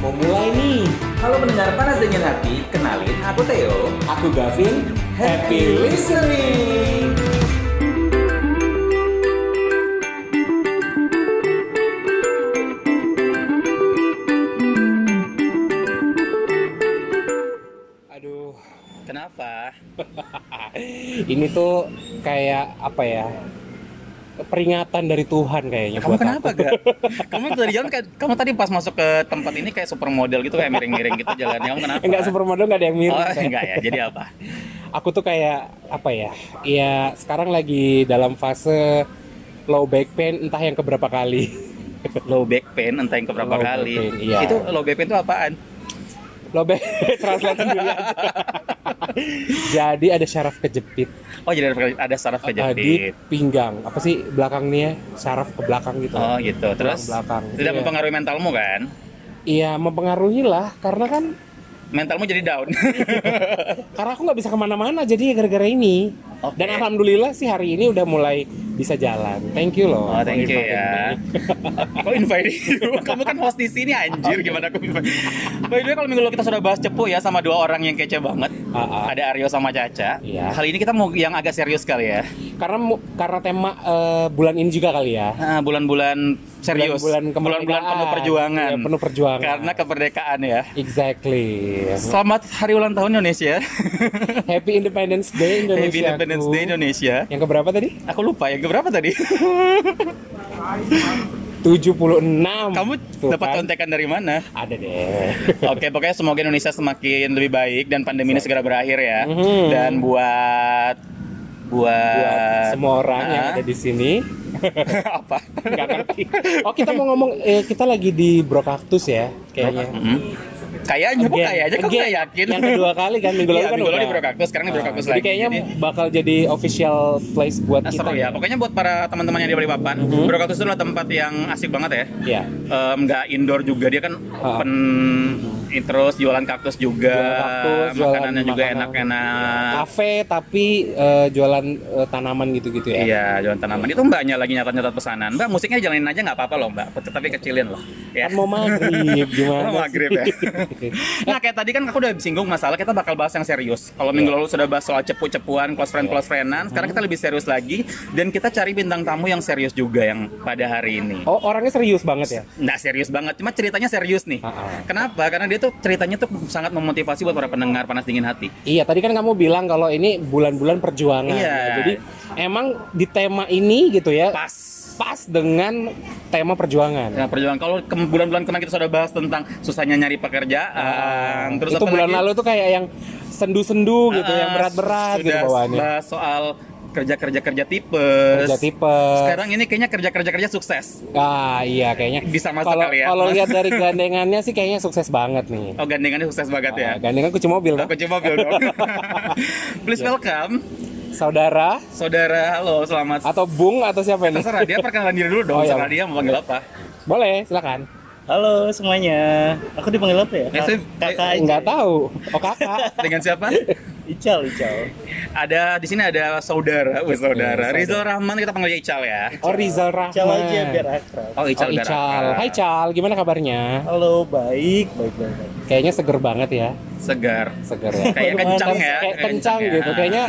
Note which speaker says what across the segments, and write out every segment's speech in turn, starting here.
Speaker 1: Mau mulai nih.
Speaker 2: Halo pendengar panas dingin hati, kenalin aku Theo.
Speaker 1: Aku Gavin. Happy listening. Aduh,
Speaker 2: Kenapa?
Speaker 1: ini tuh kayak apa ya? Peringatan dari Tuhan kayaknya.
Speaker 2: Kamu
Speaker 1: buat
Speaker 2: kenapa
Speaker 1: aku.
Speaker 2: gak? Kamu dari jalan kayak kamu tadi pas masuk ke tempat ini kayak supermodel gitu kayak miring-miring gitu jalannya. Kamu kenapa?
Speaker 1: Enggak supermodel enggak ada yang mirip.
Speaker 2: Oh,
Speaker 1: kayak.
Speaker 2: enggak ya. Jadi apa?
Speaker 1: aku tuh kayak apa ya ya sekarang lagi dalam fase low back pain entah yang keberapa kali
Speaker 2: Low back pain entah yang keberapa
Speaker 1: Low back
Speaker 2: kali.
Speaker 1: pain, iya.
Speaker 2: Itu low back pain itu apaan?
Speaker 1: low back translate sendiri aja. jadi ada syaraf kejepit
Speaker 2: Oh, jadi ada, ada saraf
Speaker 1: eh, di
Speaker 2: kejepit.
Speaker 1: pinggang apa sih belakangnya syaraf ke belakang gitu
Speaker 2: Oh, gitu. Terus
Speaker 1: belakang
Speaker 2: tidak
Speaker 1: iya.
Speaker 2: mempengaruhi mentalmu kan?
Speaker 1: iya mempengaruhi lah karena kan
Speaker 2: Mentalmu jadi down.
Speaker 1: karena aku nggak bisa kemana-mana jadi gara-gara ini
Speaker 2: Oke.
Speaker 1: dan alhamdulillah sih hari ini udah mulai bisa jalan thank you loh
Speaker 2: Oh, thank you
Speaker 1: Ivan ini.
Speaker 2: ya. Kok invite you? Kamu kan host di sini anjir, gimana aku invite? By the way, kalau minggu lalu kita sudah bahas cepu ya sama dua orang yang kece banget.
Speaker 1: Ah, ah.
Speaker 2: Ada Aryo sama Caca.
Speaker 1: Iya.
Speaker 2: Kali ini kita mau yang agak serius kali ya.
Speaker 1: karena mu- karena tema eh, bulan ini juga kali ya
Speaker 2: Ah, Bulan-bulan serius.
Speaker 1: bulan
Speaker 2: Bulan-bulan penuh
Speaker 1: kemerdekaan.
Speaker 2: perjuangan.
Speaker 1: Iya, penuh perjuangan.
Speaker 2: Karena kemerdekaan ya.
Speaker 1: exactly
Speaker 2: Selamat hari ulang tahun Indonesia.
Speaker 1: Happy Independence Day Indonesia
Speaker 2: Happy Independence
Speaker 1: aku.
Speaker 2: Day Indonesia.
Speaker 1: yang keberapa tadi
Speaker 2: Aku lupa yang keberapa tadi.
Speaker 1: 76
Speaker 2: Kamu
Speaker 1: Tuh
Speaker 2: dapat
Speaker 1: kan.
Speaker 2: kontekan dari mana?
Speaker 1: ada deh
Speaker 2: Oke, pokoknya semoga Indonesia semakin lebih baik dan pandemi ini segera berakhir ya.
Speaker 1: Mhm.
Speaker 2: Dan buat buat,
Speaker 1: buat semua orang yang
Speaker 2: Ah,
Speaker 1: ada di sini
Speaker 2: apa?
Speaker 1: nggak ngerti oh kita mau ngomong eh, kita lagi di Brokaktus ya kayaknya
Speaker 2: Mhm. Kayaknya kok
Speaker 1: Again,
Speaker 2: kayaknya kamu
Speaker 1: again.
Speaker 2: nggak yakin.
Speaker 1: yang kedua kali kan minggu lalu
Speaker 2: Iya,
Speaker 1: kan
Speaker 2: minggu lalu
Speaker 1: udah.
Speaker 2: di Brokaktus, sekarang di Brokaktus
Speaker 1: Ah, jadi
Speaker 2: lagi.
Speaker 1: kayaknya
Speaker 2: Jadi-
Speaker 1: bakal jadi official place buat
Speaker 2: Nah,
Speaker 1: kita
Speaker 2: seru ya. Pokoknya buat para teman-teman yang di Balikpapan,
Speaker 1: Mhm.
Speaker 2: Brokaktus itu adalah tempat yang asik banget ya.
Speaker 1: Iya.
Speaker 2: Em, nggak indoor juga dia kan
Speaker 1: Ah. Mhm.
Speaker 2: open terus jualan kaktus juga
Speaker 1: Jualan kaktus, jualan
Speaker 2: makanannya juga
Speaker 1: makanan. Iya.
Speaker 2: enak-enak
Speaker 1: kafe tapi eh, jualan eh, tanaman gitu-gitu ya.
Speaker 2: Iya, jualan tanaman. Itu mbaknya lagi nyatat-nyatat pesanan. Mbak, musiknya jalanin aja nggak apa-apa loh, mbak. Tapi kecilin loh. Ya.
Speaker 1: Kan mau maghrib gimana?
Speaker 2: Oh, maghrib ya. nah, kayak tadi kan aku udah singgung masalah kita bakal bahas yang serius. Kalau minggu
Speaker 1: Iya.
Speaker 2: lalu sudah bahas soal cepu-cepuan, close friend, close friendan. Sekarang
Speaker 1: Hmm.
Speaker 2: kita lebih serius lagi. Dan kita cari bintang tamu yang serius juga yang pada hari ini.
Speaker 1: oh orangnya serius banget ya.
Speaker 2: Nggak serius banget, cuma ceritanya serius nih.
Speaker 1: Ah, ah.
Speaker 2: Kenapa? Karena dia tuh ceritanya tuh sangat memotivasi buat para pendengar panas dingin hati.
Speaker 1: Iya tadi kan kamu bilang kalau ini bulan-bulan perjuangan.
Speaker 2: Iya.
Speaker 1: Ya, Jadi emang di tema ini gitu ya pas,
Speaker 2: Pas.
Speaker 1: dengan tema perjuangan.
Speaker 2: Nah, perjuangan kalau ke- bulan-bulan kemarin kita sudah bahas tentang susahnya nyari pekerjaan, Nah,
Speaker 1: Ah.
Speaker 2: terus
Speaker 1: itu
Speaker 2: apa
Speaker 1: bulan
Speaker 2: lagi?
Speaker 1: lalu tuh kayak yang sendu-sendu gitu,
Speaker 2: Ah,
Speaker 1: yang berat-berat gitu
Speaker 2: sudah
Speaker 1: bawaannya.
Speaker 2: bahas soal kerja-kerja kerja tipes.
Speaker 1: Kerja tipes.
Speaker 2: Sekarang ini kayaknya kerja-kerja kerja sukses.
Speaker 1: Ah iya kayaknya.
Speaker 2: Bisa masuk
Speaker 1: Kalau
Speaker 2: kali ya.
Speaker 1: kalau lihat dari gandengannya sih kayaknya sukses banget nih.
Speaker 2: Oh, gandengannya sukses banget ya.
Speaker 1: Ah, gandengan kunci mobil.
Speaker 2: Aku coba mobil dong. Please
Speaker 1: Iya.
Speaker 2: welcome
Speaker 1: Saudara
Speaker 2: saudara. Halo, selamat.
Speaker 1: atau Bung atau siapa ini?
Speaker 2: Terserah dia perkenalan diri dulu dong.
Speaker 1: Oh, iya.
Speaker 2: Terserah dia mau panggil apa.
Speaker 1: Boleh, silakan.
Speaker 3: Halo semuanya, aku dipanggil apa ya?
Speaker 2: Eh,
Speaker 3: Ka-
Speaker 2: Sif,
Speaker 3: kakak aja.
Speaker 1: Nggak tahu. Oh kakak.
Speaker 2: Dengan siapa?
Speaker 3: Ical, Ical.
Speaker 2: ada di sini ada saudara, Wih,
Speaker 1: Iya,
Speaker 2: saudara.
Speaker 1: saudara.
Speaker 2: Rizal Rahman kita panggil Ical ya.
Speaker 1: Oh Rizal Rahman.
Speaker 3: Ical aja biar akrab.
Speaker 2: Oh,
Speaker 1: Oh,
Speaker 2: Ical. biar
Speaker 1: Ical.
Speaker 2: akrab.
Speaker 1: Hai Cal, gimana kabarnya?
Speaker 3: Halo, baik, baik, baik. baik.
Speaker 1: Kayaknya seger banget ya.
Speaker 2: Segar.
Speaker 1: Seger ya.
Speaker 2: Kayak kencang ya.
Speaker 1: Kayak kencang
Speaker 2: ya. Ah.
Speaker 1: gitu. Kayaknya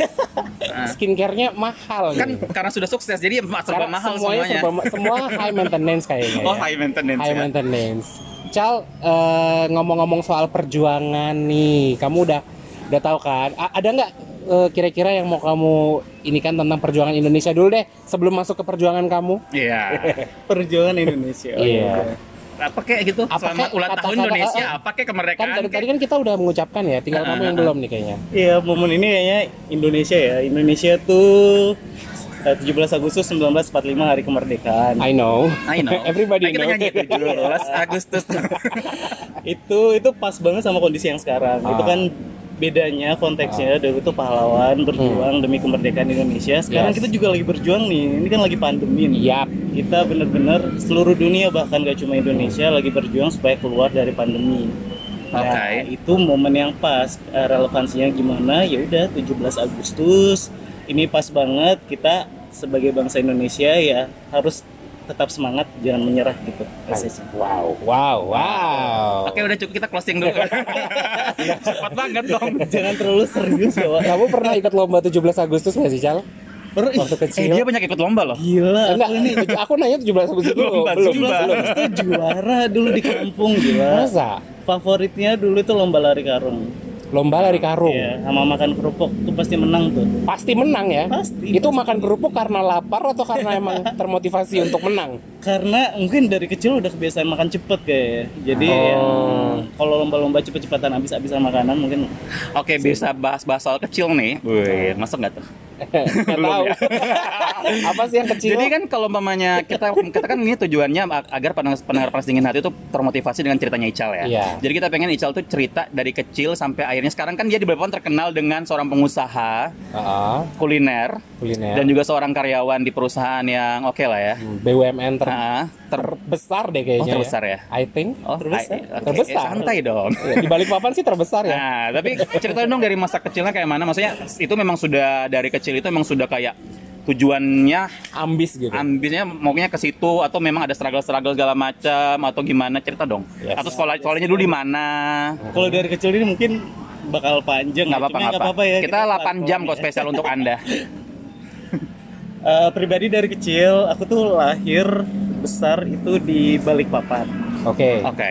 Speaker 1: skincare-nya mahal
Speaker 2: kan
Speaker 1: gitu.
Speaker 2: karena sudah sukses jadi emang serba
Speaker 1: Karena
Speaker 2: mahal
Speaker 1: semuanya,
Speaker 2: semuanya.
Speaker 1: serba ma- semua high maintenance kayaknya.
Speaker 2: Oh
Speaker 1: ya.
Speaker 2: high maintenance.
Speaker 1: High
Speaker 2: ya.
Speaker 1: maintenance. Cal, eh, ngomong-ngomong soal perjuangan nih, kamu udah udah tahu kan? A- ada nggak eh, kira-kira yang mau kamu ini kan tentang perjuangan Indonesia dulu deh sebelum masuk ke perjuangan kamu?
Speaker 2: Iya.
Speaker 3: Perjuangan Indonesia. oh
Speaker 1: Iya.
Speaker 3: iya.
Speaker 2: Apa kayak gitu?
Speaker 1: Apa
Speaker 2: Selamat
Speaker 1: kayak
Speaker 2: ulang tahun
Speaker 1: kata-kata-
Speaker 2: Indonesia.
Speaker 1: eh, eh.
Speaker 2: Apa kayak
Speaker 1: Kan
Speaker 2: kemerdekaan?
Speaker 1: dari
Speaker 2: kayak-
Speaker 1: tadi kan kita udah mengucapkan ya, tinggal
Speaker 2: Ah,
Speaker 1: kamu yang
Speaker 2: ah,
Speaker 1: belum nih kayaknya.
Speaker 3: Iya, momen ini kayaknya Indonesia ya. Indonesia tuh eh, 17 Agustus 1945 hari kemerdekaan.
Speaker 1: I know.
Speaker 2: I know.
Speaker 1: Everybody
Speaker 2: Ayo kita
Speaker 1: know.
Speaker 2: nyanyi 17 Agustus.
Speaker 3: Itu itu pas banget sama kondisi yang sekarang. Itu
Speaker 1: Ah.
Speaker 3: kan bedanya konteksnya dulu tuh pahlawan berjuang demi kemerdekaan Indonesia. Sekarang
Speaker 1: Hmm. Yes. Iya.
Speaker 3: kita juga lagi berjuang nih. Ini kan lagi pandemi nih.
Speaker 1: Yap.
Speaker 3: kita benar-benar seluruh dunia bahkan gak cuma Indonesia lagi berjuang supaya keluar dari pandemi. Nah,
Speaker 2: Oke.
Speaker 3: itu momen yang pas Eh, relevansinya gimana? Ya udah 17 Agustus. Ini pas banget kita sebagai bangsa Indonesia ya harus tetap semangat, jangan menyerah gitu. Message.
Speaker 1: Wow, wow, wow.
Speaker 2: Oke udah cukup kita closing dulu. Cepat banget dong.
Speaker 3: Jangan terlalu serius ya, Wak.
Speaker 1: Kamu pernah ikut lomba 17 Agustus nggak sih, Cal?
Speaker 3: Per-
Speaker 1: Waktu
Speaker 2: Eh
Speaker 1: kecil.
Speaker 2: dia banyak ikut lomba loh.
Speaker 3: Gila,
Speaker 1: Enggak,
Speaker 3: aku ini
Speaker 1: tuj- aku nanya 17 Agustus dulu.
Speaker 2: Lomba
Speaker 1: Belum,
Speaker 2: Zumba.
Speaker 1: belum.
Speaker 3: itu juara dulu di kampung gila.
Speaker 1: Masa?
Speaker 3: Favoritnya dulu itu lomba lari karung.
Speaker 1: Lomba lari karung.
Speaker 3: Iya, sama makan kerupuk tuh pasti menang tuh.
Speaker 1: Pasti menang ya?
Speaker 3: Pasti.
Speaker 1: Itu makan kerupuk karena lapar atau karena emang termotivasi untuk menang?
Speaker 3: Karena mungkin dari kecil udah kebiasaan makan cepet kayak. Jadi
Speaker 1: Oh.
Speaker 3: ya, kalau lomba-lomba cepet-cepetan habis-habisan makanan mungkin
Speaker 2: Oke bisa bahas-bahas soal kecil nih. Wih, masuk nggak tuh?
Speaker 1: Nggak tahu. Apa sih yang kecil?
Speaker 2: ya. Jadi kan kalau umpamanya kita kita kan ini tujuannya ag- agar pendengar pendengar Panas dingin hati itu termotivasi dengan ceritanya Ical ya.
Speaker 1: Iya.
Speaker 2: Jadi kita pengen Ical tuh cerita dari kecil sampai akhirnya sekarang kan dia di Balikpapan terkenal dengan seorang pengusaha
Speaker 1: Ah,
Speaker 2: kuliner
Speaker 1: kuliner.
Speaker 2: dan juga seorang karyawan di perusahaan yang oke lah ya.
Speaker 1: Hmm, BUMN ter-
Speaker 2: Nah, ter
Speaker 1: terbesar deh kayaknya.
Speaker 2: Oh, terbesar ya?
Speaker 1: I think.
Speaker 2: Oh,
Speaker 3: Terbesar.
Speaker 2: oke,
Speaker 1: Terbesar.
Speaker 2: santai dong.
Speaker 1: Ya, Di balik papan sih terbesar ya.
Speaker 2: Nah, tapi ceritain dong dari masa kecilnya kayak mana? Maksudnya itu memang sudah dari kecil itu memang sudah kayak tujuannya
Speaker 1: Ambis gitu.
Speaker 2: ambisnya maunya ke situ atau memang ada struggle-struggle segala macam atau gimana cerita dong
Speaker 1: Yes.
Speaker 2: atau sekolah sekolahnya dulu di mana
Speaker 3: kalau dari kecil ini mungkin bakal panjang.
Speaker 2: nggak
Speaker 3: ya.
Speaker 2: apa-apa
Speaker 3: Cuma
Speaker 2: nggak apa-apa
Speaker 3: ya.
Speaker 2: kita 8 jam
Speaker 3: pelan-pelan
Speaker 2: kok
Speaker 3: ya.
Speaker 2: spesial untuk anda
Speaker 3: Eh, pribadi dari kecil aku tuh lahir besar itu di Balikpapan.
Speaker 1: Oke.
Speaker 2: oke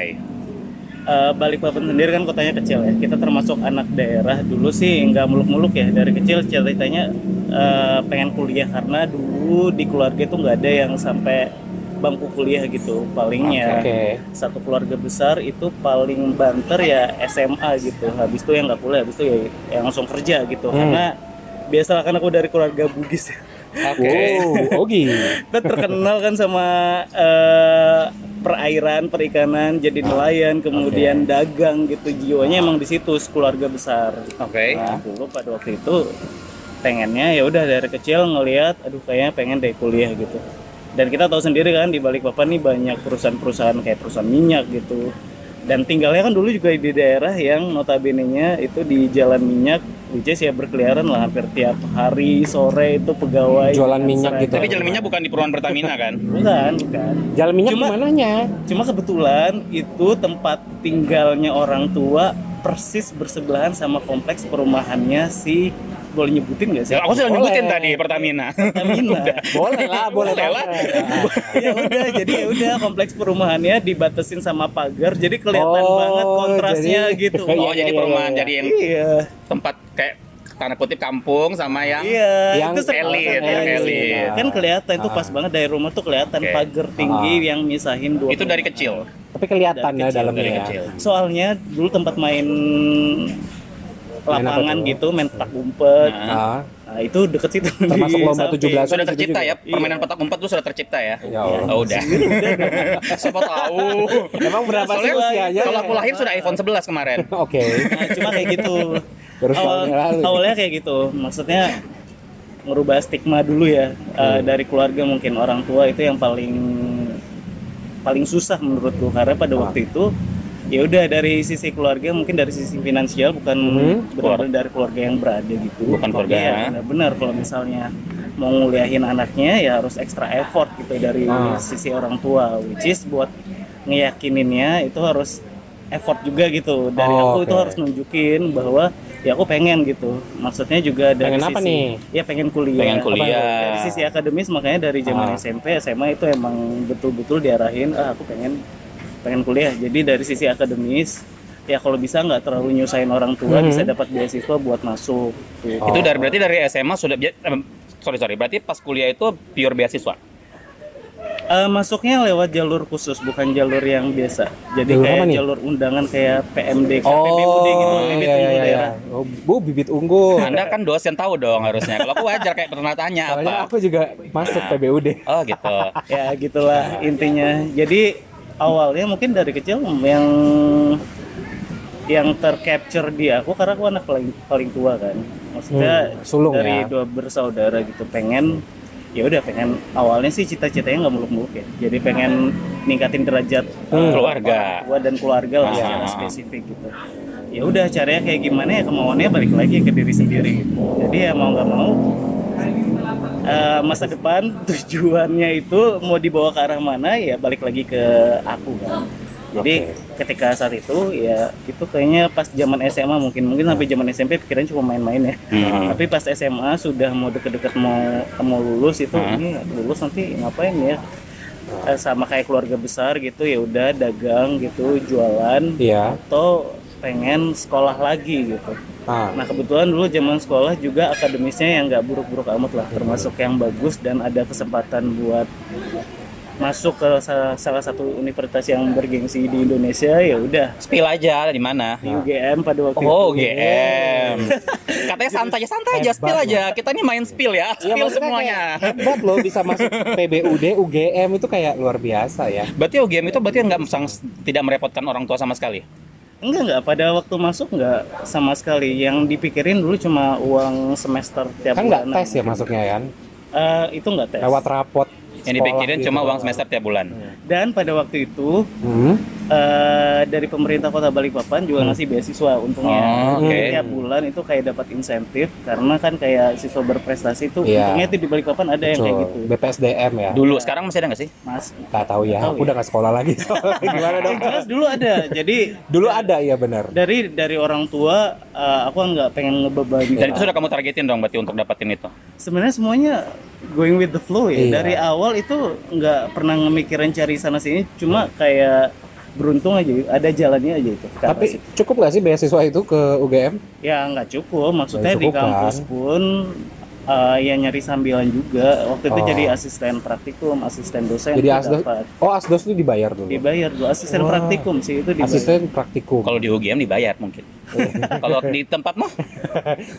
Speaker 3: Eh, Balikpapan sendiri kan kotanya kecil ya. Kita termasuk anak daerah dulu sih nggak muluk-muluk ya. Dari kecil ceritanya eh, pengen kuliah karena dulu di keluarga itu nggak ada yang sampai bangku kuliah gitu. Palingnya
Speaker 1: Oke.
Speaker 3: satu keluarga besar itu paling banter ya SMA gitu habis itu yang nggak kuliah habis itu ya yang langsung kerja gitu
Speaker 1: Hmm.
Speaker 3: karena biasalah kan aku dari keluarga Bugis ya
Speaker 2: oke
Speaker 1: Wow, Ogi.
Speaker 3: kita terkenal kan sama eh, perairan perikanan jadi nelayan kemudian dagang gitu jiwanya emang di situ keluarga besar
Speaker 2: oke
Speaker 3: Nah, dulu pada waktu itu pengennya ya udah dari kecil ngelihat aduh kayaknya pengen deh kuliah gitu. Dan kita tahu sendiri kan di Balikpapan nih banyak perusahaan-perusahaan kayak perusahaan minyak gitu. Dan tinggalnya kan dulu juga di daerah yang notabene-nya itu di jalan minyak which is ya berkeliaran lah hampir tiap hari sore itu pegawai
Speaker 1: Jualan
Speaker 3: dengan
Speaker 1: minyak
Speaker 3: seragam.
Speaker 1: gitu.
Speaker 2: tapi jalannya bukan di perumahan Pertamina kan
Speaker 3: bukan, bukan.
Speaker 1: Jalan minyak
Speaker 3: Cuma-
Speaker 1: dimananya?
Speaker 3: Cuma kebetulan itu tempat tinggalnya orang tua persis bersebelahan sama kompleks perumahannya si boleh nyebutin nggak sih?
Speaker 2: aku sudah
Speaker 1: Boleh.
Speaker 2: nyebutin tadi Pertamina
Speaker 3: Pertamina.
Speaker 1: Boleh lah, boleh
Speaker 2: Boleh lah.
Speaker 1: boleh.
Speaker 3: ya udah, jadi ya udah kompleks perumahannya dibatasin sama pagar, jadi kelihatan
Speaker 1: Oh,
Speaker 3: banget kontrasnya
Speaker 1: jadi-
Speaker 3: gitu.
Speaker 1: Iya,
Speaker 2: oh
Speaker 1: iya,
Speaker 2: jadi
Speaker 1: iya,
Speaker 2: perumahan
Speaker 1: iya.
Speaker 2: jadi yang
Speaker 3: iya,
Speaker 2: tempat kayak tanda kutip kampung sama yang
Speaker 3: iya,
Speaker 1: Yang
Speaker 3: serba
Speaker 2: elit,
Speaker 3: sama
Speaker 2: yang
Speaker 3: elit.
Speaker 2: elit.
Speaker 3: Kan kelihatan itu
Speaker 1: Ah.
Speaker 3: pas banget dari rumah tuh kelihatan
Speaker 2: Oke.
Speaker 3: pagar tinggi
Speaker 1: Ah.
Speaker 3: yang misahin dua.
Speaker 2: itu dari
Speaker 3: perumahan.
Speaker 2: kecil
Speaker 1: Tapi kelihatan
Speaker 3: Dari
Speaker 1: ya
Speaker 3: kecil,
Speaker 1: dalamnya
Speaker 2: dari
Speaker 1: ya.
Speaker 2: kecil
Speaker 3: Soalnya dulu tempat main
Speaker 1: apa
Speaker 3: lapangan
Speaker 1: tuh?
Speaker 3: gitu, main petak umpet.
Speaker 2: Nah.
Speaker 1: Ah,
Speaker 3: Nah, itu deket situ.
Speaker 1: Termasuk
Speaker 3: di
Speaker 1: lomba
Speaker 3: samping.
Speaker 1: 17.
Speaker 2: sudah
Speaker 1: Itu
Speaker 2: tercipta
Speaker 1: juga.
Speaker 2: ya permainan petak umpet itu sudah tercipta ya
Speaker 1: ya Allah.
Speaker 2: oh udah siapa tahu
Speaker 1: Emang berapa sih
Speaker 2: Soalnya
Speaker 1: usianya?
Speaker 2: kalau aku lahir sudah iPhone 11 kemarin
Speaker 1: Oh, Oke.
Speaker 3: Nah, cuma kayak gitu.
Speaker 1: Baru
Speaker 3: Awal,
Speaker 1: tahun yang lalu.
Speaker 3: awalnya kayak gitu. Maksudnya merubah stigma dulu ya eh,
Speaker 1: Iya.
Speaker 3: dari keluarga mungkin orang tua itu yang paling paling susah menurutku karena pada
Speaker 1: Ah.
Speaker 3: waktu itu ya udah dari sisi keluarga mungkin dari sisi finansial bukan
Speaker 1: Hmm.
Speaker 3: benar-benar dari keluarga yang berada gitu
Speaker 2: Bukan keluarga. ya.
Speaker 3: Iya, benar-benar kalau misalnya mau nguliahin anaknya ya harus extra effort gitu dari
Speaker 1: Ah.
Speaker 3: sisi orang tua which is buat ngeyakininnya itu harus effort juga gitu dari
Speaker 1: Oh,
Speaker 3: aku itu
Speaker 1: oke.
Speaker 3: harus nunjukin bahwa ya aku pengen gitu maksudnya juga dari
Speaker 1: Pengen
Speaker 3: sisi
Speaker 1: apa nih?
Speaker 3: ya pengen kuliah
Speaker 2: Pengen kuliah.
Speaker 3: Apa, dari sisi akademis makanya dari zaman
Speaker 1: Ah.
Speaker 3: SMP SMA itu emang betul-betul diarahin ah aku pengen pengen kuliah jadi dari sisi akademis ya kalau bisa nggak terlalu nyusahin orang tua
Speaker 1: Mhm.
Speaker 3: bisa dapat beasiswa buat masuk gitu.
Speaker 1: Oh.
Speaker 2: Itu dari berarti dari SMA sudah bia- em, sorry sorry berarti pas kuliah itu pure beasiswa.
Speaker 3: Eh, masuknya lewat jalur khusus bukan jalur yang biasa jadi
Speaker 1: Jalur apa
Speaker 3: kayak
Speaker 1: nih?
Speaker 3: jalur undangan kayak PMD
Speaker 1: Oh,
Speaker 3: KPBUD gitu
Speaker 1: iya,
Speaker 3: bibit
Speaker 1: iya,
Speaker 3: unggul
Speaker 1: iya.
Speaker 3: daerah.
Speaker 1: Oh, Bu bibit unggul.
Speaker 2: Anda kan dosen tahu dong harusnya. Kalau aku wajar kayak pernah tanya
Speaker 1: Soalnya
Speaker 2: apa.
Speaker 1: aku juga masuk PBUD.
Speaker 2: Oh gitu.
Speaker 3: ya gitulah intinya jadi awalnya mungkin dari kecil yang yang tercapture di aku karena aku anak paling paling tua kan maksudnya
Speaker 1: Hmm, sulung ya.
Speaker 3: dari dua bersaudara gitu pengen ya udah pengen awalnya sih cita-citanya nggak muluk-muluk ya jadi pengen ningkatin derajat eh,
Speaker 1: Hmm.
Speaker 2: Keluarga.
Speaker 3: orang tua dan keluarga lah
Speaker 2: Ah.
Speaker 3: secara spesifik gitu ya udah caranya kayak gimana ya kemauannya balik lagi ke diri sendiri gitu. jadi ya mau nggak mau eh, masa depan tujuannya itu mau dibawa ke arah mana ya balik lagi ke aku kan. Jadi ketika saat itu ya itu kayaknya pas zaman SMA mungkin mungkin sampai zaman SMP pikirannya cuma main-main ya.
Speaker 2: Hmm.
Speaker 3: Tapi pas SMA sudah mau deket-deket mau mau lulus itu
Speaker 2: Hmm.
Speaker 3: ini lulus nanti ngapain ya? Eh, sama kayak keluarga besar gitu ya udah dagang gitu jualan
Speaker 1: Iya.
Speaker 3: atau pengen sekolah lagi gitu.
Speaker 1: Ah.
Speaker 3: Nah kebetulan dulu zaman sekolah juga akademisnya yang nggak buruk-buruk amat lah, termasuk yang bagus dan ada kesempatan buat masuk ke sa- salah satu universitas yang bergengsi di Indonesia ya udah
Speaker 2: Spill aja di mana?
Speaker 1: Nah.
Speaker 3: UGM pada waktu
Speaker 2: Oh,
Speaker 1: gitu.
Speaker 3: itu.
Speaker 2: GM. Katanya santai aja, santai aja, spill aja. Kita ini main spill ya,
Speaker 1: Iya,
Speaker 2: spill
Speaker 1: maksudnya
Speaker 2: semuanya.
Speaker 1: kayak hebat loh bisa masuk PBUD, UGM itu kayak luar biasa ya.
Speaker 2: Berarti UGM itu berarti nggak sang- tidak merepotkan orang tua sama sekali.
Speaker 3: Enggak enggak pada waktu masuk nggak sama sekali yang dipikirin dulu cuma uang semester tiap
Speaker 1: Kan nggak
Speaker 3: bulanan.
Speaker 1: tes ya masuknya kan?
Speaker 3: Eh, itu nggak tes.
Speaker 1: Lewat rapot. gitu
Speaker 2: Yang dipikirin cuma uang semester tiap bulan.
Speaker 3: Dan pada waktu itu
Speaker 1: Hmm.
Speaker 3: eh, dari pemerintah Kota Balikpapan juga ngasih beasiswa untungnya.
Speaker 2: Oh, oke.
Speaker 3: Jadi Tiap bulan itu kayak dapat insentif karena kan kayak siswa berprestasi itu
Speaker 1: Iya.
Speaker 3: untungnya itu di Balikpapan ada yang kayak
Speaker 1: Betul.
Speaker 3: gitu.
Speaker 1: BPSDM ya.
Speaker 2: Dulu, sekarang masih ada nggak sih?
Speaker 3: Mas
Speaker 1: Gak tahu ya,
Speaker 3: Nggak tahu
Speaker 1: aku udah gak sekolah lagi soalnya gimana dong?
Speaker 3: Yang jelas dulu ada. Jadi
Speaker 1: Dulu ada ya benar.
Speaker 3: dari dari orang tua eh, aku kan nggak pengen ngebebani.
Speaker 2: Dan
Speaker 1: Iya.
Speaker 2: itu sudah kamu targetin dong berarti untuk dapetin itu.
Speaker 3: Sebenarnya semuanya going with the flow ya.
Speaker 1: Iya.
Speaker 3: Dari awal itu nggak pernah ngemikirin cari sana sini, cuma kayak beruntung aja ada jalannya aja itu. Ke arah
Speaker 1: Tapi cukup nggak sih beasiswa itu ke UGM?
Speaker 3: ya nggak cukup maksudnya
Speaker 1: Nggak cukup, kan?
Speaker 3: di kampus pun eh, ya nyari sambilan juga waktu itu
Speaker 1: Oh.
Speaker 3: jadi asisten praktikum asisten dosen
Speaker 1: Jadi
Speaker 3: tuh
Speaker 1: asdos,
Speaker 3: dapat
Speaker 1: oh asdos itu dibayar dulu.
Speaker 3: dibayar gua asisten
Speaker 1: Wah.
Speaker 3: praktikum sih itu dibayar
Speaker 1: Asisten praktikum.
Speaker 2: Kalau di UGM dibayar mungkin. Kalau di tempat mah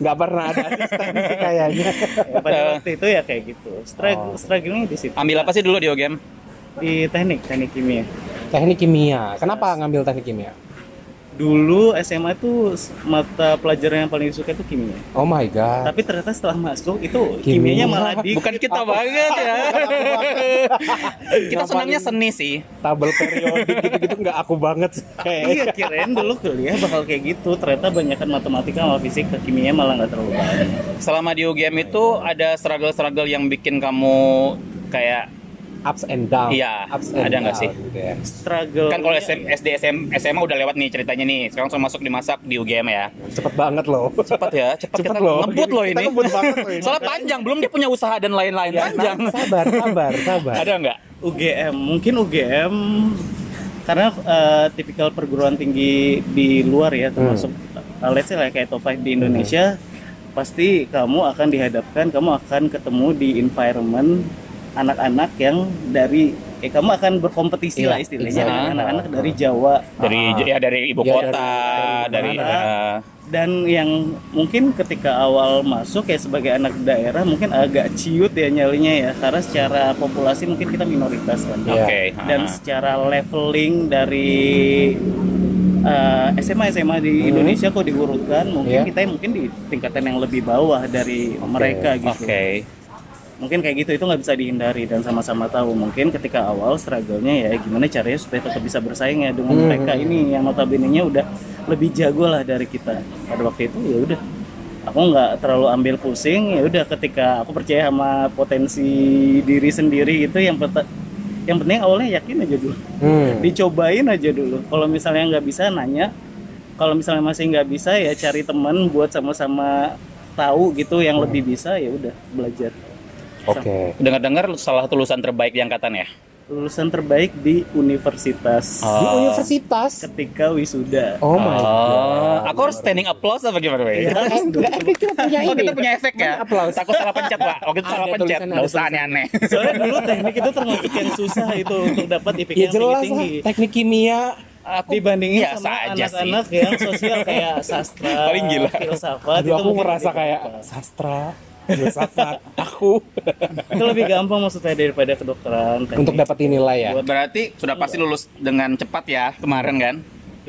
Speaker 1: Nggak pernah ada asisten sih kayaknya.
Speaker 3: Ya, pada
Speaker 2: Eh.
Speaker 3: waktu itu ya kayak gitu struggle
Speaker 1: Oh.
Speaker 3: strugglingnya di situ
Speaker 2: ambil apa sih dulu di UGM?
Speaker 3: di teknik teknik kimia
Speaker 1: Teknik kimia. Kenapa ngambil teknik kimia?
Speaker 3: dulu SMA tuh s- mata pelajaran yang paling disuka itu kimia
Speaker 1: Oh my god.
Speaker 3: tapi ternyata setelah masuk itu
Speaker 1: Kimia.
Speaker 3: kimianya malah di
Speaker 2: Bukan kita banget ya. kita
Speaker 1: Ngapain?
Speaker 2: senangnya seni sih.
Speaker 1: Tabel periodik gitu-gitu nggak aku banget. Kayak
Speaker 3: Iya kirain dulu kuliah bakal kayak gitu ternyata banyakan matematika sama fisika kimia malah nggak terlalu banyak
Speaker 2: Selama di UGM itu ada struggle-struggle yang bikin kamu kayak
Speaker 1: ups and down.
Speaker 2: Iya,
Speaker 1: Ups and
Speaker 2: ada nggak
Speaker 1: down
Speaker 2: sih?
Speaker 1: gitu ya.
Speaker 3: struggle
Speaker 2: kan kalau SM, SD SM, SMA udah lewat nih ceritanya nih. Sekarang langsung masuk di masak di UGM ya.
Speaker 1: Cepet banget loh.
Speaker 2: Cepat ya, cepat
Speaker 1: Cepet
Speaker 2: kita
Speaker 1: loh.
Speaker 2: ngebut loh
Speaker 1: Kita
Speaker 2: ini.
Speaker 1: ngebut Iya, banget loh ini.
Speaker 2: Soalnya panjang, belum dia punya usaha dan lain-lain. Panjang.
Speaker 1: Sabar, sabar, sabar.
Speaker 2: Ada nggak?
Speaker 3: UGM mungkin UGM karena eh, tipikal perguruan tinggi di luar ya
Speaker 1: Hmm.
Speaker 3: termasuk eh, let's say lah kayak top 5 di Indonesia pasti kamu akan dihadapkan kamu akan ketemu di environment anak-anak yang dari eh kamu akan berkompetisi
Speaker 1: Iya,
Speaker 3: lah istilahnya
Speaker 1: exactly. Hmm.
Speaker 3: dengan anak-anak dari Jawa
Speaker 2: Dari
Speaker 1: Ah.
Speaker 2: ya dari ibu
Speaker 1: Ya, dari-
Speaker 2: kota, dari,
Speaker 1: dari Iya.
Speaker 2: eh,
Speaker 3: mana. dan yang mungkin ketika awal masuk ya sebagai anak daerah mungkin agak ciut ya nyalinya ya karena secara populasi mungkin kita minoritas kan
Speaker 1: Iya.
Speaker 2: oke.
Speaker 3: dan
Speaker 2: ah.
Speaker 3: secara leveling dari eh, SMA SMA di
Speaker 1: Hmm.
Speaker 3: Indonesia kok diurutkan
Speaker 1: Iya.
Speaker 3: mungkin kita mungkin di tingkatan yang lebih bawah dari mereka
Speaker 2: Oke.
Speaker 3: gitu mungkin kayak gitu itu nggak bisa dihindari dan sama-sama tahu mungkin ketika awal struggle-nya ya gimana caranya supaya tetap bisa bersaing ya dengan
Speaker 1: Hmm.
Speaker 3: mereka ini yang notabene-nya udah lebih jago lah dari kita pada waktu itu ya udah aku nggak terlalu ambil pusing ya udah ketika aku percaya sama potensi diri sendiri itu yang peta- yang penting awalnya yakin aja dulu
Speaker 1: Hmm.
Speaker 3: dicobain aja dulu kalau misalnya nggak bisa nanya kalau misalnya masih nggak bisa ya cari teman buat sama-sama tahu gitu yang lebih bisa ya udah belajar
Speaker 1: Oke.
Speaker 2: Dengar-dengar salah satu lulusan terbaik di angkatan ya?
Speaker 3: lulusan terbaik di universitas
Speaker 1: Di
Speaker 2: Oh.
Speaker 1: universitas.
Speaker 3: ketika wisuda
Speaker 1: Oh my
Speaker 2: Oh,
Speaker 1: god.
Speaker 2: aku harus standing applause apa gimana, Wei?
Speaker 3: Iya.
Speaker 1: Eh, enggak, eh, kita punya
Speaker 2: Oh,
Speaker 1: ini.
Speaker 2: kita punya efek ya?
Speaker 1: Mana applause?
Speaker 2: Takut salah pencet, Pak. Oke,
Speaker 1: Ada
Speaker 2: salah pencet.
Speaker 1: tulisannya,
Speaker 2: Nggak
Speaker 1: ada
Speaker 2: usah aneh-aneh.
Speaker 3: soalnya dulu teknik itu termasuk yang susah itu untuk dapat IPK
Speaker 1: Ya
Speaker 3: yang
Speaker 1: jelas lah,
Speaker 3: tinggi
Speaker 1: teknik kimia.
Speaker 2: Aku
Speaker 3: dibandingin
Speaker 2: biasa
Speaker 3: sama
Speaker 2: aja Ya, sih.
Speaker 3: anak-anak yang sosial kayak sastra
Speaker 2: Paling gila. Oh,
Speaker 3: filsafat
Speaker 1: Aduh, aku
Speaker 3: mungkin
Speaker 1: merasa
Speaker 3: lebih
Speaker 1: kayak
Speaker 3: gampang.
Speaker 1: sastra, filsafat, aku
Speaker 3: itu lebih gampang maksudnya daripada kedokteran teknik.
Speaker 1: untuk dapetin nilai ya.
Speaker 2: Berarti sudah pasti lulus dengan cepat ya kemarin kan?